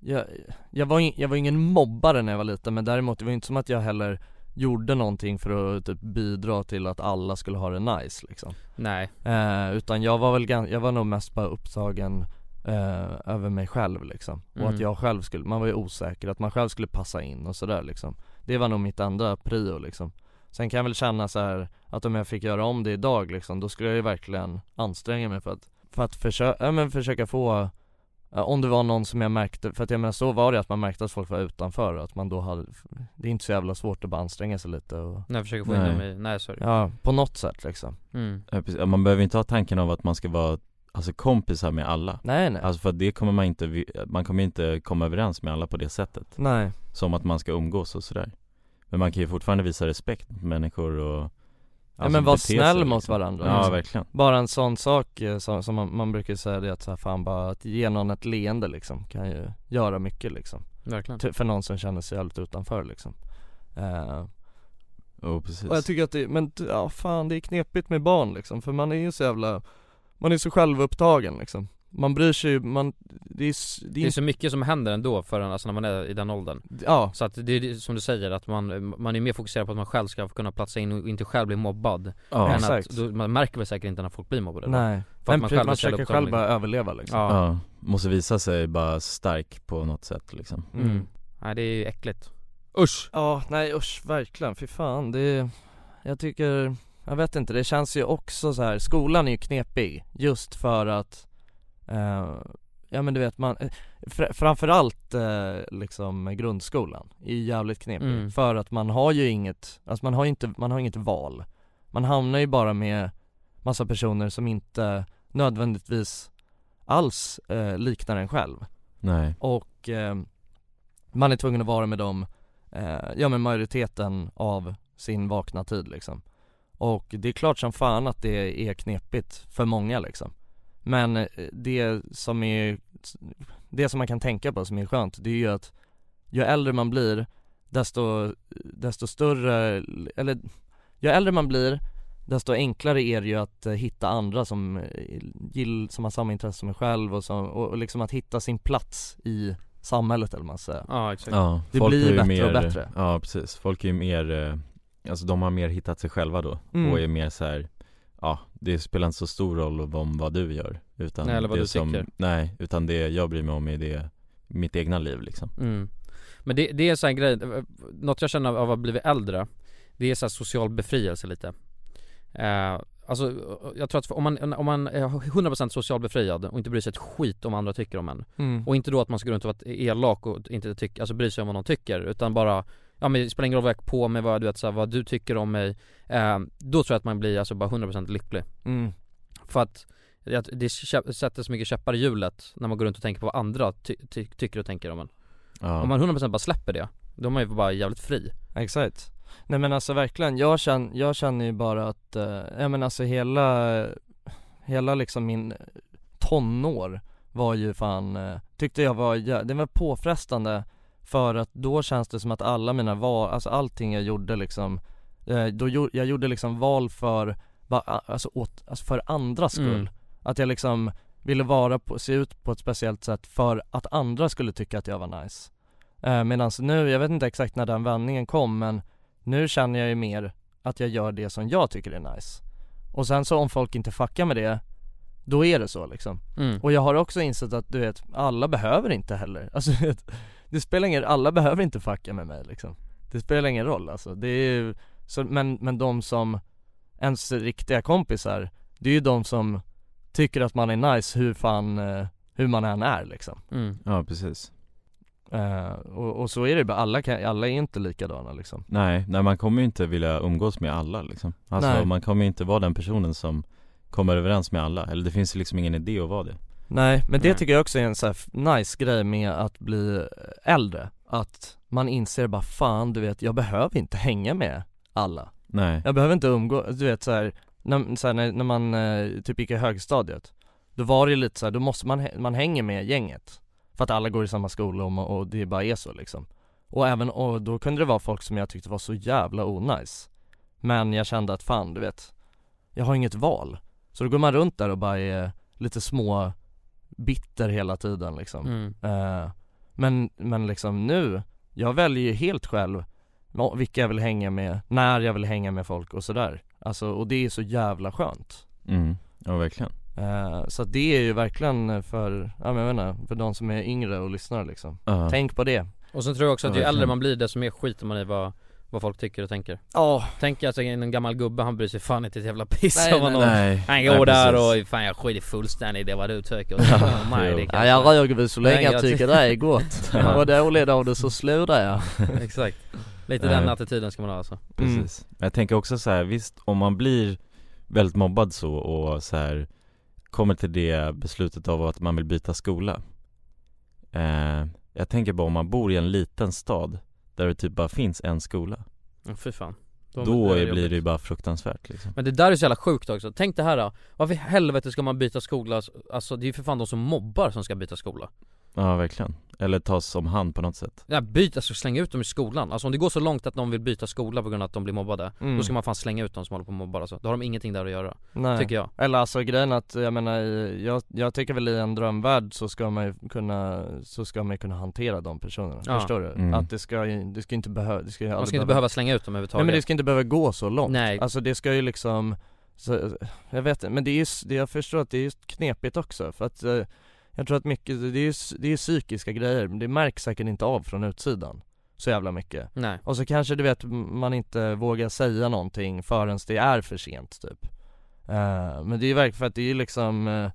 Speaker 5: jag, jag, var, in, jag var ingen mobbare när jag var liten men däremot det var ju inte som att jag heller gjorde någonting för att typ bidra till att alla skulle ha det nice liksom
Speaker 2: Nej.
Speaker 5: eh, Utan jag var väl gan, jag var nog mest bara upptagen eh, över mig själv liksom Och
Speaker 2: Mm.
Speaker 5: att jag själv skulle, man var ju osäker, att man själv skulle passa in och sådär liksom Det var nog mitt enda prio liksom Sen kan jag väl känna så här att om jag fick göra om det idag liksom, då skulle jag ju verkligen anstränga mig för att, för att försöka, ja, men försöka få ja, om det var någon som jag märkte, för att jag menar så var det att man märkte att folk var utanför och att man då hade Det är inte så jävla svårt att bara anstränga sig lite och
Speaker 2: när jag försöker få in
Speaker 1: Nej.
Speaker 2: dem i, nej sorry
Speaker 5: Ja, på något sätt liksom
Speaker 2: Mm.
Speaker 1: Ja, precis. Ja, Man behöver inte ha tanken av att man ska vara Alltså kompisar med alla
Speaker 5: Nej, nej.
Speaker 1: Alltså för att det kommer man inte, vi- man kommer inte komma överens med alla på det sättet
Speaker 5: Nej.
Speaker 1: Som att man ska umgås och sådär Men man kan ju fortfarande visa respekt mot människor och
Speaker 5: Ja
Speaker 1: alltså
Speaker 5: men var
Speaker 1: bete sig,
Speaker 5: snäll
Speaker 1: liksom.
Speaker 5: mot varandra
Speaker 1: Ja
Speaker 5: liksom.
Speaker 1: verkligen
Speaker 5: Bara en sån sak eh, som, som man, man brukar säga det att så här, fan bara att ge någon ett leende liksom kan ju göra mycket liksom
Speaker 2: Verkligen.
Speaker 5: Ty- För någon som känner sig jävligt utanför liksom Eh,
Speaker 1: Jo precis
Speaker 5: Och jag tycker att det, men t- ja fan det är knepigt med barn liksom, för man är ju så jävla, man är så självupptagen liksom Man bryr sig ju, man, det är, s- det
Speaker 2: Det är så mycket som händer ändå för en, alltså när man är i den åldern
Speaker 5: Ja
Speaker 2: Så att det är det som du säger, att man, man är mer fokuserad på att man själv ska kunna platsa in och inte själv bli mobbad
Speaker 5: Ja.
Speaker 2: än
Speaker 5: Exakt.
Speaker 2: Att, då, man märker väl säkert inte när folk blir mobbade då.
Speaker 5: Nej.
Speaker 2: för
Speaker 5: Men
Speaker 2: att
Speaker 5: precis,
Speaker 2: man själv
Speaker 5: man
Speaker 2: är så jävla
Speaker 5: försöker själv
Speaker 2: upptagen.
Speaker 5: bara överleva, liksom.
Speaker 2: ja.
Speaker 1: Ja, måste visa sig bara stark på något sätt liksom
Speaker 2: Mm. Nej det är ju äckligt
Speaker 5: Usch! Ja, nej usch, verkligen, fy fan det är, jag tycker, jag vet inte, det känns ju också så här. skolan är ju knepig just för att eh, Ja men du vet man, eh, fr- framförallt eh, liksom grundskolan är ju jävligt knepig
Speaker 2: Mm.
Speaker 5: för att man har ju inget, alltså man har ju inte, man har inget val Man hamnar ju bara med massa personer som inte nödvändigtvis alls eh, liknar en själv
Speaker 1: Nej
Speaker 5: och eh, man är tvungen att vara med dem, eh, ja men majoriteten av sin vakna tid liksom. Och det är klart som fan att det är knepigt för många liksom. Men eh, det som är, det som man kan tänka på som är skönt, det är ju att ju äldre man blir, desto, desto större, eller ju äldre man blir, desto enklare är det ju att eh, hitta andra som, eh, gill, som har samma intresse som en själv och, som, och, och liksom att hitta sin plats i samhället eller vad man säger.
Speaker 2: Ja exakt
Speaker 1: ja,
Speaker 5: Det
Speaker 1: folk är
Speaker 5: blir
Speaker 1: ju
Speaker 5: bättre
Speaker 1: mer,
Speaker 5: och bättre.
Speaker 1: Ja precis, folk är ju mer, eh, alltså de har mer hittat sig själva då
Speaker 5: Mm.
Speaker 1: och är mer så här, ja det spelar inte så stor roll om vad du gör utan
Speaker 2: Nej, eller vad
Speaker 1: det
Speaker 2: du
Speaker 1: som,
Speaker 2: tycker.
Speaker 1: Nej, utan det jag bryr mig om är det, mitt egna liv liksom
Speaker 2: Mm. Men det, det är en sån här grej, något jag känner av att ha blivit äldre Det är så här social befrielse lite eh, Alltså jag tror att om man, om man är 100% social befriad och inte bryr sig ett skit om vad andra tycker om en
Speaker 14: Mm.
Speaker 2: Och inte då att man ska gå runt och vara elak och inte tyck, alltså bry sig om vad någon tycker utan bara Ja men det spelar ingen roll vad jag har på mig, vad, du vet, så här, vad du tycker om mig eh, Då tror jag att man blir alltså bara 100% lycklig
Speaker 5: Mm.
Speaker 2: För att det, det kä- sätter så mycket käppar i hjulet när man går runt och tänker på vad andra ty, ty, tycker och tänker om en
Speaker 5: Ja.
Speaker 2: Om man 100% bara släpper det, då är man ju bara jävligt fri
Speaker 5: Exakt Nej men alltså verkligen, jag känner, jag känner ju bara att, eh, ja men alltså hela, hela liksom min tonår var ju fan, eh, tyckte jag var, jä- det var påfrestande för att då känns det som att alla mina val, alltså allting jag gjorde liksom, eh, då gjo- jag gjorde liksom val för, va- alltså, åt, alltså för andras skull
Speaker 2: Mm.
Speaker 5: Att jag liksom ville vara på, se ut på ett speciellt sätt för att andra skulle tycka att jag var nice eh, Medan nu, jag vet inte exakt när den vändningen kom men nu känner jag ju mer att jag gör det som jag tycker är nice Och sen så om folk inte fuckar med det Då är det så liksom
Speaker 2: Mm.
Speaker 5: Och jag har också insett att du vet, alla behöver inte heller *laughs* Alltså du vet, det spelar ingen alla behöver inte fucka med mig liksom Det spelar ingen roll alltså, det är ju, så, men, men de som ens riktiga kompisar Det är ju de som tycker att man är nice hur fan, eh, hur man än är liksom
Speaker 2: Mm.
Speaker 1: Ja precis
Speaker 5: Eh, och, och så är det ju bara, alla, kan, alla är inte likadana liksom
Speaker 1: Nej, nej man kommer ju inte vilja umgås med alla liksom Alltså
Speaker 5: Nej.
Speaker 1: man kommer ju inte vara den personen som kommer överens med alla Eller det finns ju liksom ingen idé att vara det
Speaker 5: Nej, men det tycker jag också är en så här f- nice grej med att bli äldre Att man inser bara fan du vet, jag behöver inte hänga med alla
Speaker 1: Nej.
Speaker 5: Jag behöver inte umgå, du vet så här, när, så här, när, när man eh, typ gick i högstadiet Då var det ju lite så här, då måste man, hä- man hänger med gänget För att alla går i samma skola och, ma- och det bara är så liksom Och även, och då kunde det vara folk som jag tyckte var så jävla onajs Men jag kände att fan du vet Jag har inget val Så då går man runt där och bara är lite små bitter hela tiden liksom
Speaker 2: Mm.
Speaker 5: Eh, men, men liksom nu, jag väljer ju helt själv va- vilka jag vill hänga med, när jag vill hänga med folk och sådär Alltså, och det är så jävla skönt
Speaker 1: Mm, ja verkligen
Speaker 5: Eh, Så att det är ju verkligen för, ja men jag vet inte, för de som är yngre och lyssnar liksom
Speaker 1: Ja.
Speaker 5: Tänk på det
Speaker 2: Och sen tror jag också att
Speaker 5: Ja,
Speaker 2: ju
Speaker 5: verkligen.
Speaker 2: äldre man blir desto mer skiter man i vad, vad folk tycker och tänker
Speaker 5: Ja
Speaker 2: Tänk alltså en gammal gubbe, han bryr sig fan inte ett jävla piss
Speaker 5: Nej,
Speaker 2: om vad
Speaker 5: nej,
Speaker 2: någon
Speaker 5: nej.
Speaker 2: Han
Speaker 5: Nej,
Speaker 2: går där
Speaker 5: precis.
Speaker 2: och fan jag skiter fullständigt i vad du tycker oh
Speaker 5: Ja, ja, jag röker väl så länge jag tycker det är *laughs* gott.
Speaker 2: Ja.
Speaker 5: Och dåligt av det så slutar jag.
Speaker 2: *laughs*
Speaker 1: *laughs*
Speaker 2: Exakt Lite
Speaker 1: Nej.
Speaker 2: den attityden ska man ha alltså
Speaker 1: Precis. Men Jag tänker också så här, visst om man blir väldigt mobbad så och så här kommer till det beslutet av att man vill byta skola. Eh, jag tänker bara om man bor i en liten stad där det typ bara finns en skola.
Speaker 2: Mm, fy fan
Speaker 1: Då,
Speaker 2: då är det
Speaker 1: blir
Speaker 2: jobbigt.
Speaker 1: det ju bara fruktansvärt liksom.
Speaker 2: Men det där är så jävla sjukt också, tänk det här då. Varför i helvete ska man byta skola? Alltså det är ju för fan de som mobbar som ska byta skola
Speaker 1: Ja verkligen. Eller tas om hand på något sätt.
Speaker 2: Ja byt, alltså släng ut dem i skolan. Alltså om det går så långt att någon vill byta skola på grund av att de blir mobbade
Speaker 5: Mm.
Speaker 2: Då ska man fan slänga ut dem som håller på och mobbar alltså. Då har de ingenting där att göra
Speaker 5: Nej.
Speaker 2: Tycker jag
Speaker 5: Eller alltså grejen att, jag menar, i- jag, jag tycker väl i en drömvärld så ska man ju kunna, så ska man ju kunna hantera de personerna,
Speaker 2: Ja.
Speaker 5: förstår du?
Speaker 2: Mm.
Speaker 5: Att det ska ju, det ska inte behöva, det ska ju
Speaker 2: Man
Speaker 5: aldrig
Speaker 2: ska inte behöva slänga ut dem överhuvudtaget
Speaker 5: Nej men det ska inte behöva gå så långt
Speaker 2: Nej.
Speaker 5: Alltså det ska ju liksom, så, jag vet inte, men det är ju, s- det jag förstår att det är ju knepigt också för att eh, jag tror att mycket, det är ju s- det är ju psykiska grejer, men det märks säkert inte av från utsidan så jävla mycket
Speaker 2: Nej.
Speaker 5: Och så kanske du vet, m- man inte vågar säga någonting förrän det är för sent typ Eh, Men det är ju verkligen, för att det är ju liksom eh,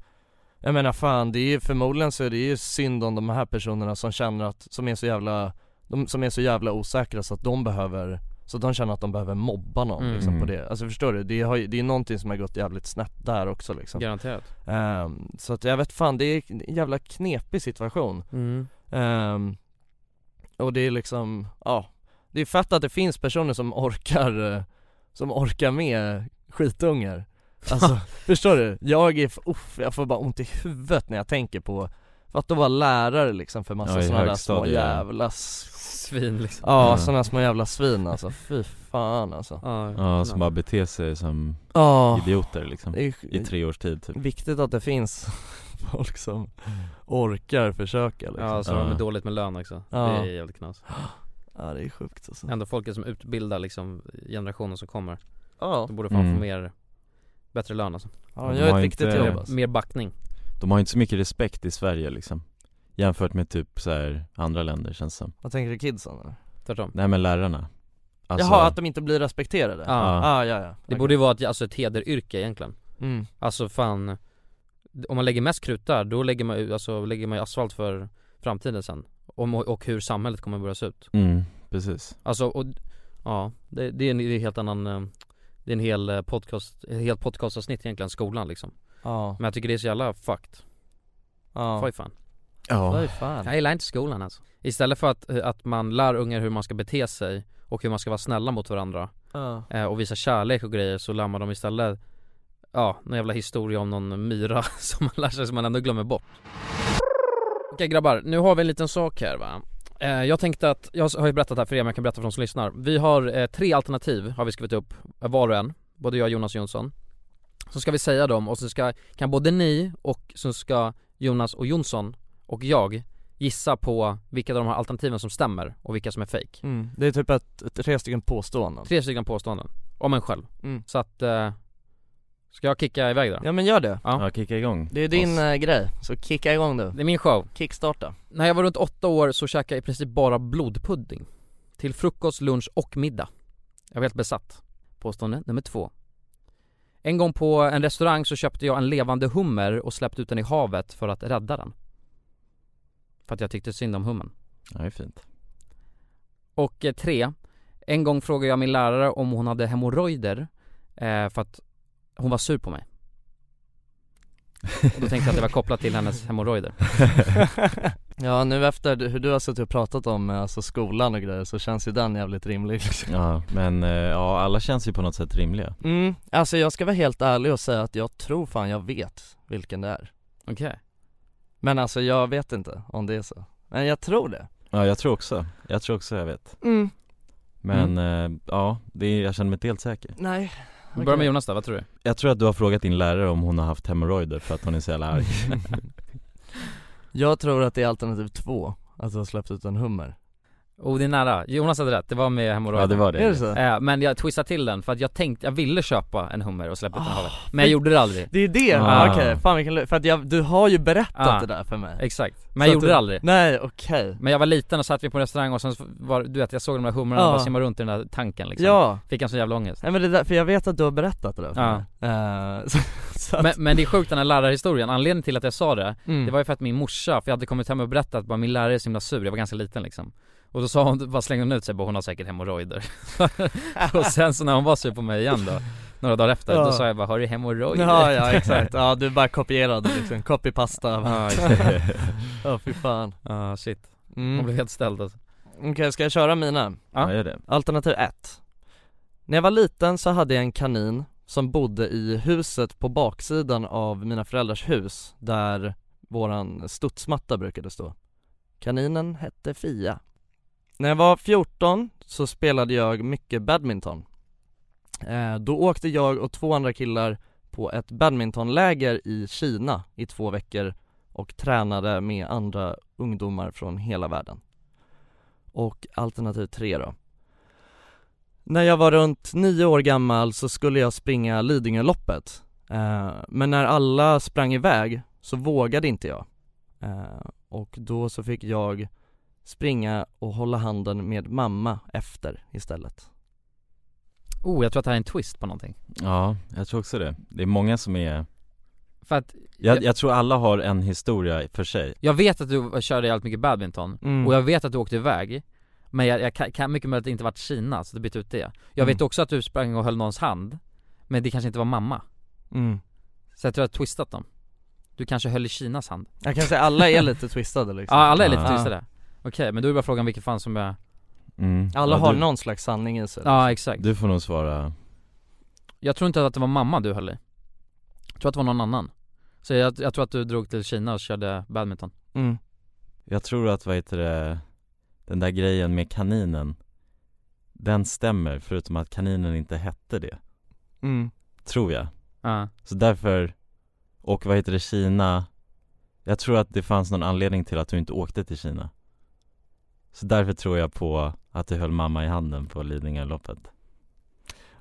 Speaker 5: Jag menar fan, det är ju förmodligen så är det ju synd om de här personerna som känner att, som är så jävla de som är så jävla osäkra så att de behöver, så att de känner att de behöver mobba någon
Speaker 2: Mm.
Speaker 5: liksom på det Alltså förstår du? Det, har, ju- det är någonting som har gått jävligt snett där också liksom
Speaker 2: Garanterat
Speaker 5: Ehm, Så att jag vet fan, det är en jävla knepig situation
Speaker 2: Mm.
Speaker 5: Ehm, Och det är liksom, ja Det är fett att det finns personer som orkar, eh, som orkar med skitungar Alltså, förstår du? Jag är, f- uff, jag får bara ont i huvudet när jag tänker på Fatta att vara lärare liksom för massa
Speaker 1: Ja, i
Speaker 5: sådana där små
Speaker 1: högstadiet, ja.
Speaker 5: jävla
Speaker 2: Svin liksom
Speaker 5: Ja,
Speaker 1: Ja.
Speaker 5: sådana små jävla svin alltså, fy fan alltså
Speaker 1: Ja, som bara beter sig som
Speaker 5: Ja.
Speaker 1: idioter liksom.
Speaker 5: Ah. Det är ju-
Speaker 1: I tre års tid typ.
Speaker 5: Viktigt att det finns *laughs* folk som orkar försöka liksom.
Speaker 2: Ja så de är dåligt med lön också,
Speaker 5: Ja.
Speaker 2: det är jävligt knas
Speaker 5: Ja det är sjukt alltså
Speaker 2: Ändå folket som utbildar liksom generationen som kommer
Speaker 5: Ja
Speaker 2: De borde fan
Speaker 1: Mm.
Speaker 2: få mer, bättre lön alltså
Speaker 5: Ja,
Speaker 1: de gör ett har viktigt inte- jobb, alltså.
Speaker 2: Mer backning
Speaker 1: De har inte så mycket respekt i Sverige liksom Jämfört med typ så här andra länder känns det som.
Speaker 5: Vad tänker du kidsen eller?
Speaker 2: Tvärtom
Speaker 1: Nej men lärarna Alltså-
Speaker 5: Jaha, att de inte blir respekterade?
Speaker 2: Ja.
Speaker 5: ah, ja, ja.
Speaker 2: Det borde ju vara ett, alltså ett hederyrke egentligen
Speaker 5: Mm.
Speaker 2: Alltså fan Om man lägger mest krut där, då lägger man ju, alltså, lägger man ju asfalt för framtiden sen Om, Och hur samhället kommer att börja se ut
Speaker 1: Mm, precis
Speaker 2: Alltså, och, ja, det, det är en det är en helt annan eh, Det är en hel eh, podcast, ett helt podcastavsnitt egentligen, skolan liksom
Speaker 5: Ja.
Speaker 2: Men jag tycker det är så jävla fucked
Speaker 5: Ja.
Speaker 2: Fy fan
Speaker 1: Ja.
Speaker 5: Fy fan.
Speaker 2: Jag gillar inte skolan alltså Istället för att, eh, att man lär ungar hur man ska bete sig och hur man ska vara snälla mot varandra
Speaker 5: Ja.
Speaker 2: eh, och visa kärlek och grejer så lär man dem istället Ja, någon jävla historia om någon myra *laughs* som man lär sig som man ändå glömmer bort Okej grabbar, nu har vi en liten sak här va Eh, Jag tänkte att, jag har ju berättat här för er men jag kan berätta för de som lyssnar Vi har eh, tre alternativ har vi skrivit upp, eh, var och en Både jag, Jonas och Jonsson Så ska vi säga dem och så ska, kan både ni och så ska Jonas och Jonsson och jag gissa på vilka av de här alternativen som stämmer och vilka som är fake
Speaker 5: Mm. Det är typ ett, ett, tre stycken påståenden
Speaker 2: Tre stycken påståenden, om en själv
Speaker 5: Mm.
Speaker 2: Så att, eh, ska jag kicka iväg då?
Speaker 5: Ja men gör det
Speaker 2: Ja,
Speaker 1: kicka igång
Speaker 5: Det är din eh, grej, så kicka igång du
Speaker 2: Det är min show
Speaker 5: Kickstarta
Speaker 2: När jag var runt åtta år så käkade jag i princip bara blodpudding Till frukost, lunch och middag Jag var helt besatt Påstående nummer två En gång på en restaurang så köpte jag en levande hummer och släppte ut den i havet för att rädda den För att jag tyckte synd om hummen
Speaker 1: Ja det är fint
Speaker 2: Och eh, tre, en gång frågade jag min lärare om hon hade hemorrojder eh, för att hon var sur på mig. Och då tänkte jag att det var kopplat till hennes
Speaker 5: *laughs*
Speaker 2: hemorrojder.
Speaker 5: Ja nu efter du- hur du har suttit och pratat om eh, alltså skolan och grejer så känns ju den jävligt rimlig
Speaker 1: *laughs*
Speaker 5: liksom.
Speaker 1: Ja men eh, ja alla känns ju på något sätt rimliga
Speaker 5: Mm, alltså jag ska vara helt ärlig och säga att jag tror fan jag vet vilken det är
Speaker 2: Okej
Speaker 5: Men alltså jag vet inte om det är så Men jag tror det
Speaker 1: Ja jag tror också, jag tror också jag vet
Speaker 5: Mm.
Speaker 1: Men
Speaker 2: Mm.
Speaker 1: eh, ja, det är, jag känner mig inte helt säker
Speaker 5: Nej
Speaker 2: Vi börjar med Jonas då, vad tror du?
Speaker 1: Jag tror att du har frågat din lärare om hon har haft hemorrojder för att hon är så
Speaker 5: *laughs*
Speaker 1: jävla arg
Speaker 5: Jag tror att det är alternativ två, att du har släppt ut en hummer
Speaker 2: Oh det är nära, Jonas hade rätt, det var med hemorrojder
Speaker 5: Ja, det var det. Är
Speaker 1: *laughs*
Speaker 5: det så?
Speaker 2: Eh, men jag twistade till den för att jag tänkte, jag ville köpa en hummer och släppa ut den i havet Ah, Men jag gjorde det aldrig
Speaker 5: Ah, Det är det,
Speaker 2: Ah.
Speaker 5: ah. okej, fan vilken lu- för att jag, du har ju berättat
Speaker 2: Ah,
Speaker 5: det där för mig
Speaker 2: Exakt,
Speaker 5: Så
Speaker 2: men jag
Speaker 5: att
Speaker 2: gjorde
Speaker 5: du-
Speaker 2: det aldrig
Speaker 5: Nej okej
Speaker 2: Men jag var liten och satt vi på en restaurang och sen så var, du vet jag såg de där humrarna
Speaker 5: Ja.
Speaker 2: bara simma runt i den där tanken liksom
Speaker 5: Ja.
Speaker 2: Fick en sån jävla ångest
Speaker 5: Nej men det där, för jag vet att du har berättat det där för
Speaker 2: Ja.
Speaker 5: mig. Eh, *laughs* så, så att,
Speaker 2: men, men det är sjukt den här lärarhistorien, anledningen till att jag sa det,
Speaker 5: Mm.
Speaker 2: det var ju för att min morsa, för jag hade kommit hem och berättat bara min lärare är så himla sur, jag var ganska liten liksom Och då sa hon, bara slängde hon ut sig bara hon har säkert hemorrojder *laughs* Och sen så när hon var sur på mig igen då, några dagar efter,
Speaker 5: Ja.
Speaker 2: då sa jag bara har du hemorrojder?
Speaker 5: Ja ja exakt, ja du bara kopierade liksom, copypasta
Speaker 2: *laughs* Ja,
Speaker 5: Ja
Speaker 2: exakt.
Speaker 5: fy fan
Speaker 2: Ja shit,
Speaker 5: Mm.
Speaker 2: hon blev helt ställd alltså.
Speaker 5: Okej, ska jag köra mina?
Speaker 1: Ja, gör det.
Speaker 5: Alternativ 1 När jag var liten så hade jag en kanin som bodde i huset på baksidan av mina föräldrars hus där våran studsmatta brukade stå Kaninen hette Fia När jag var 14 så spelade jag mycket badminton eh, Då åkte jag och två andra killar på ett badmintonläger i Kina i två veckor och tränade med andra ungdomar från hela världen och alternativ tre då. När jag var runt nio år gammal så skulle jag springa Lidingöloppet. Eh, men när alla sprang iväg så vågade inte jag. Eh, och då så fick jag springa och hålla handen med mamma efter istället.
Speaker 2: Oh jag tror att det här är en twist på någonting
Speaker 1: Ja, jag tror också det. Det är många som är
Speaker 2: För att
Speaker 1: Jag, jag tror alla har en historia för sig
Speaker 2: Jag vet att du körde jävligt mycket badminton
Speaker 1: Mm.
Speaker 2: och jag vet att du åkte iväg Men jag, jag kan, kan mycket möjligt att det inte varit Kina, så du bytte ut det Jag
Speaker 5: Mm.
Speaker 2: vet också att du sprang och höll någons hand Men det kanske inte var mamma
Speaker 5: Mm.
Speaker 2: Så jag tror att du har twistat dem Du kanske höll i Kinas hand
Speaker 5: Jag kan säga alla är lite twistade liksom.
Speaker 2: Ja alla är lite
Speaker 5: Ja.
Speaker 2: twistade Okej, men då är bara frågan vilken fan som är
Speaker 1: Mm.
Speaker 5: Alla
Speaker 1: Ja,
Speaker 5: har
Speaker 1: du-
Speaker 5: någon slags sanning i sig.
Speaker 2: Ja exakt
Speaker 1: Du får nog svara
Speaker 2: Jag tror inte att det var mamma du höll i Jag tror att det var någon annan Så jag, jag tror att du drog till Kina och körde badminton
Speaker 5: Mm.
Speaker 1: Jag tror att, vad heter det, den där grejen med kaninen Den stämmer, förutom att kaninen inte hette det
Speaker 5: Mm.
Speaker 1: Tror jag
Speaker 2: Ja.
Speaker 1: Så därför, och vad heter det, Kina Jag tror att det fanns någon anledning till att du inte åkte till Kina Så därför tror jag på att du höll mamma i handen på Lidingöloppet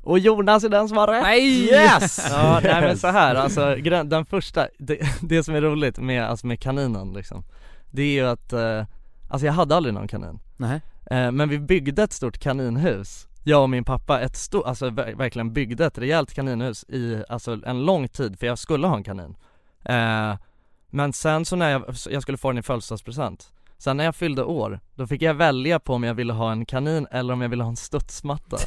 Speaker 5: Och Jonas är den som har rätt!
Speaker 2: Nej!
Speaker 5: Yes! *laughs* Ja, nej men
Speaker 1: Yes!
Speaker 5: så här, alltså gre- den första, det, det som är roligt med, alltså med kaninen liksom det är ju att, eh, alltså jag hade aldrig någon kanin
Speaker 2: Nej.
Speaker 5: Eh, Men vi byggde ett stort kaninhus, jag och min pappa, ett stort, alltså ver- verkligen byggde ett rejält kaninhus i, alltså en lång tid för jag skulle ha en kanin eh, Men sen så när jag, så jag skulle få den i födelsedagspresent Sen när jag fyllde år, då fick jag välja på om jag ville ha en kanin eller om jag ville ha en studsmatta Och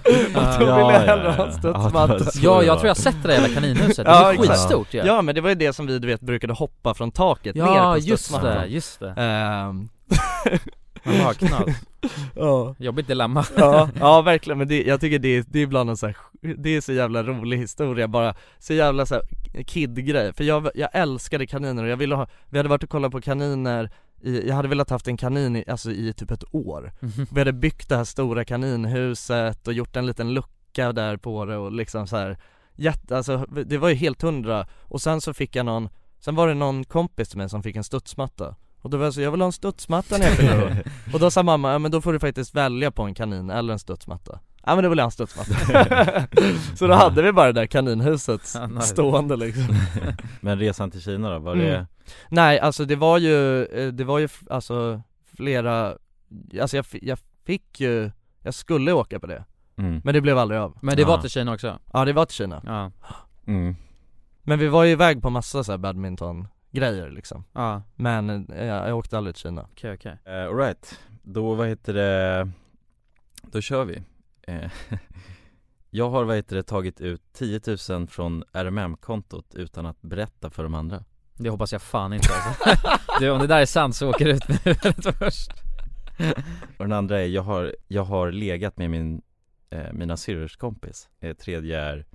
Speaker 5: *laughs* då ville jag hellre ha en studsmatta
Speaker 2: Ja, jag tror jag har sett det där
Speaker 5: *laughs*
Speaker 2: jävla kaninhuset, det
Speaker 5: Ja,
Speaker 2: är ju
Speaker 5: exakt.
Speaker 2: skitstort ju
Speaker 5: Ja men det var ju det som vi du vet brukade hoppa från taket
Speaker 2: Ja,
Speaker 5: ner på
Speaker 2: just
Speaker 5: studsmattan
Speaker 2: det, just det.
Speaker 5: Ehm.
Speaker 2: Man vaknar.
Speaker 5: Ja.
Speaker 2: Jobbigt dilemma
Speaker 5: ja, *laughs* ja verkligen, men det, jag tycker det, är- det är ibland en så här, det är så jävla rolig historia bara, så jävla så här kid-grej, för jag, jag älskade kaniner och jag ville ha, vi hade varit och kollat på kaniner i, jag hade velat haft en kanin i, alltså i typ ett år.
Speaker 2: Mhm.
Speaker 5: Vi hade byggt det här stora kaninhuset och gjort en liten lucka där på det och liksom så här jätte, alltså det var ju helt hundra och sen så fick jag någon, sen var det någon kompis till mig som fick en studsmatta och då var jag så, jag vill ha en studsmatta när jag fyller år. Och då sa mamma, ja men då får du faktiskt välja på en kanin eller en studsmatta Ja men då vill jag ha en studsmatta Så då hade vi bara det där kaninhuset
Speaker 1: Ja, nice.
Speaker 5: stående liksom
Speaker 1: Men resan till Kina då, var
Speaker 5: Mm.
Speaker 1: det
Speaker 5: *laughs* Nej alltså det var ju, eh, det var ju f- alltså flera, alltså jag, fi- jag fick ju, jag skulle åka på det
Speaker 1: Mm.
Speaker 5: Men det blev aldrig av
Speaker 2: Men det var Ja. till Kina också?
Speaker 5: Ja det var till Kina
Speaker 2: Ja.
Speaker 1: Mm.
Speaker 5: Men vi var ju iväg på massa så här badminton grejer liksom
Speaker 2: Ja.
Speaker 5: Men eh, jag, jag åkte aldrig till Kina
Speaker 2: Okej okej
Speaker 1: Eh, all Alright, då vad heter det, då kör vi Eh, *laughs* Jag har vad heter det tagit ut 10 000 från RMM-kontot utan att berätta för de andra
Speaker 2: Det hoppas jag fan inte alltså. *laughs* Du om det där är sant så åker du ut nu *laughs* först
Speaker 1: Och den andra är, jag har, jag har legat med min, eh, mina syrrors kompis eh, Tredje är,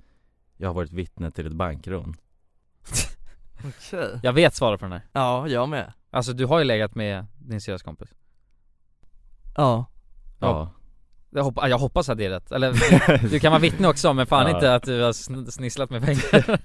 Speaker 1: jag har varit vittne till ett bankrån
Speaker 5: Okej
Speaker 2: Jag vet svaret på den här
Speaker 5: Ja, jag med
Speaker 2: Alltså du har ju legat med din syrras kompis
Speaker 5: Ja
Speaker 1: Ja.
Speaker 2: jag, hoppa, jag hoppas att det är rätt, eller du kan vara vittne också men fan
Speaker 1: Ja.
Speaker 2: inte att du har sn- snisslat med
Speaker 1: *laughs*
Speaker 2: pengar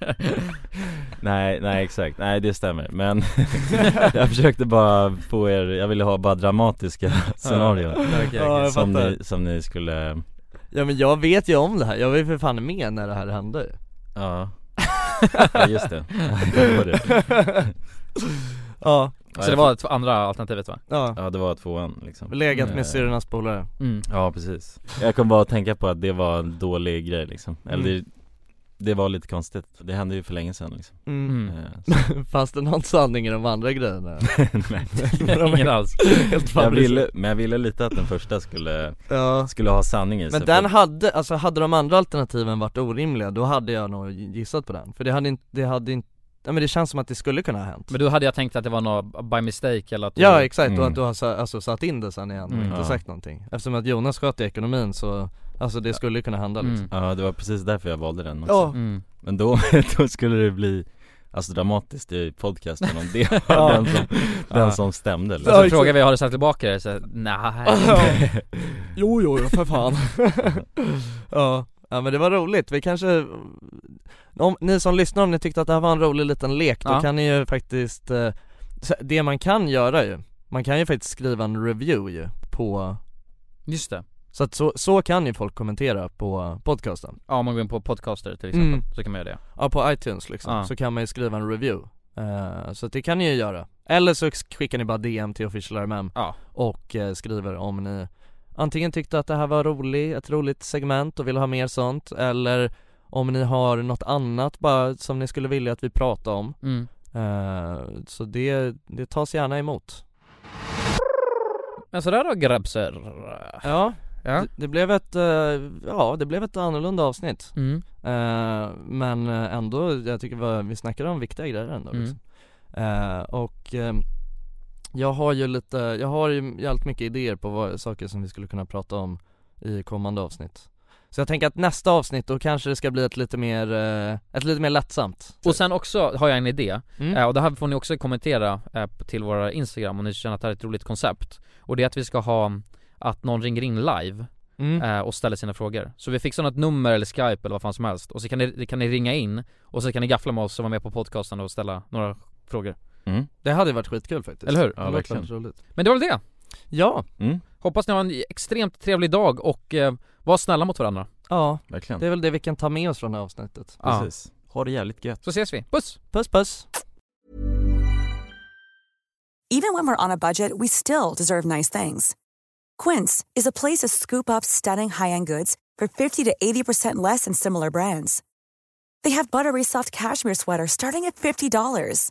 Speaker 1: *laughs* Nej, nej exakt, nej det stämmer men *laughs* jag försökte bara få er, jag ville ha bara
Speaker 5: *laughs*
Speaker 1: dramatiska scenarion
Speaker 5: okej, okej. Ja, jag
Speaker 1: som,
Speaker 5: fattar.
Speaker 1: ni, som ni skulle,
Speaker 5: Ja men jag vet ju om det här, jag var ju för fan med när det här hände
Speaker 1: ja, *laughs* ja just
Speaker 5: *laughs*
Speaker 1: det, det var det
Speaker 5: Ja
Speaker 2: Så det var ett- andra alternativet va?
Speaker 5: Ja
Speaker 1: Ja det var tvåan liksom
Speaker 5: Legat
Speaker 1: Eh,
Speaker 5: med syrrornas polare
Speaker 2: Mm.
Speaker 1: Ja precis, jag kom bara att tänka på att det var en dålig grej liksom, eller det,
Speaker 5: Mm.
Speaker 1: det var lite konstigt, det hände ju för länge sedan liksom
Speaker 5: Mm. *laughs*
Speaker 2: *laughs*
Speaker 1: Eh,
Speaker 5: Fanns det någon sanning i de andra grejerna?
Speaker 1: Nej,
Speaker 5: De är Helt
Speaker 1: jag
Speaker 5: fabricerade.
Speaker 1: ville, men jag ville lite att den första skulle,
Speaker 5: *laughs* Ja.
Speaker 1: skulle ha sanning i sig
Speaker 5: Men den hade, alltså hade de andra alternativen varit orimliga då hade jag nog gissat på den För det hade inte, det hade inte, ja, men det känns som att det skulle kunna ha hänt
Speaker 2: Men då hade jag tänkt att det var något by mistake eller att du-
Speaker 5: Ja exakt, och att du har sa- alltså, satt in det sen igen och
Speaker 2: Mm.
Speaker 5: inte
Speaker 2: Ja.
Speaker 5: sagt någonting Eftersom att Jonas sköt i ekonomin så, alltså det skulle kunna hända liksom
Speaker 1: Ja det var precis därför jag valde den också
Speaker 5: Ja.
Speaker 2: Mm.
Speaker 1: Men då, *laughs* då skulle det bli Alltså dramatiskt i podcasten om det
Speaker 5: *laughs*
Speaker 1: var
Speaker 2: Ja.
Speaker 1: den som, den
Speaker 2: Ja.
Speaker 1: som stämde liksom.
Speaker 2: Och så frågar vi, har du sagt tillbaka det? Så,
Speaker 5: *laughs*
Speaker 2: nej.
Speaker 5: Jo jo, för fan *laughs* ja. ja men det var roligt, vi kanske om, Ni som lyssnar om ni tyckte att det här var en rolig liten lek då
Speaker 2: Ja.
Speaker 5: kan ni ju faktiskt eh, så- Det man kan göra ju, man kan ju faktiskt skriva en review ju på
Speaker 2: Just det.
Speaker 5: Så att så, så kan ju folk kommentera på podcasten
Speaker 2: Ja om man går in på podcaster till exempel,
Speaker 5: Mm.
Speaker 2: så kan man göra det
Speaker 5: Ja på iTunes liksom,
Speaker 2: Ja.
Speaker 5: så kan man ju skriva en review Eh, Så att det kan ni ju göra Eller så skickar ni bara DM till official RMM och eh, skriver om ni antingen tyckte att det här var rolig, ett roligt segment och vill ha mer sånt eller om ni har något annat bara som ni skulle vilja att vi pratar om
Speaker 2: Mm.
Speaker 5: Eh, Så det, det tas gärna emot
Speaker 2: Men sådär då grabbsar
Speaker 5: Ja, Det, det blev ett, eh, ja det blev ett annorlunda avsnitt
Speaker 2: Mm.
Speaker 5: Eh, Men eh, ändå, jag tycker vad- vi snackade om viktiga grejer ändå
Speaker 2: Mm.
Speaker 5: liksom. Eh, Och eh, jag har ju lite, jag har ju jävligt mycket idéer på vad, saker som vi skulle kunna prata om i kommande avsnitt Så jag tänker att nästa avsnitt då kanske det ska bli ett lite mer, eh, ett lite mer lättsamt
Speaker 2: Och sen också har jag en idé,
Speaker 5: Mm.
Speaker 2: eh, och det här får ni också kommentera eh, till våra Instagram om ni känner att det här är ett roligt koncept Och det är att vi ska ha, att någon ringer in live
Speaker 5: Mm.
Speaker 2: eh, och ställer sina frågor Så vi fixar något nummer eller skype eller vad fan som helst, och så kan ni, kan ni ringa in och så kan ni gaffla med oss och vara med på podcasten och ställa några frågor
Speaker 1: Mm.
Speaker 5: Det hade varit skitkul faktiskt
Speaker 2: Eller hur?
Speaker 5: Ja, Det låter verkligen. väldigt roligt.
Speaker 2: Men det var väl det?
Speaker 5: Ja!
Speaker 1: Mm.
Speaker 2: Hoppas ni har en extremt trevlig dag och eh, var snälla mot varandra
Speaker 5: Ja,
Speaker 1: Verkligen.
Speaker 5: det är väl det vi kan ta med oss från det här avsnittet
Speaker 2: Ja.
Speaker 1: Precis, ha det jävligt gött
Speaker 2: Så ses vi, puss!
Speaker 5: Puss puss!
Speaker 15: Even when we're on a budget, we still deserve nice things. Quince is a place to scoop up stunning high-end goods for 50 to 80% less than similar brands. They have buttery soft cashmere sweaters starting at $50,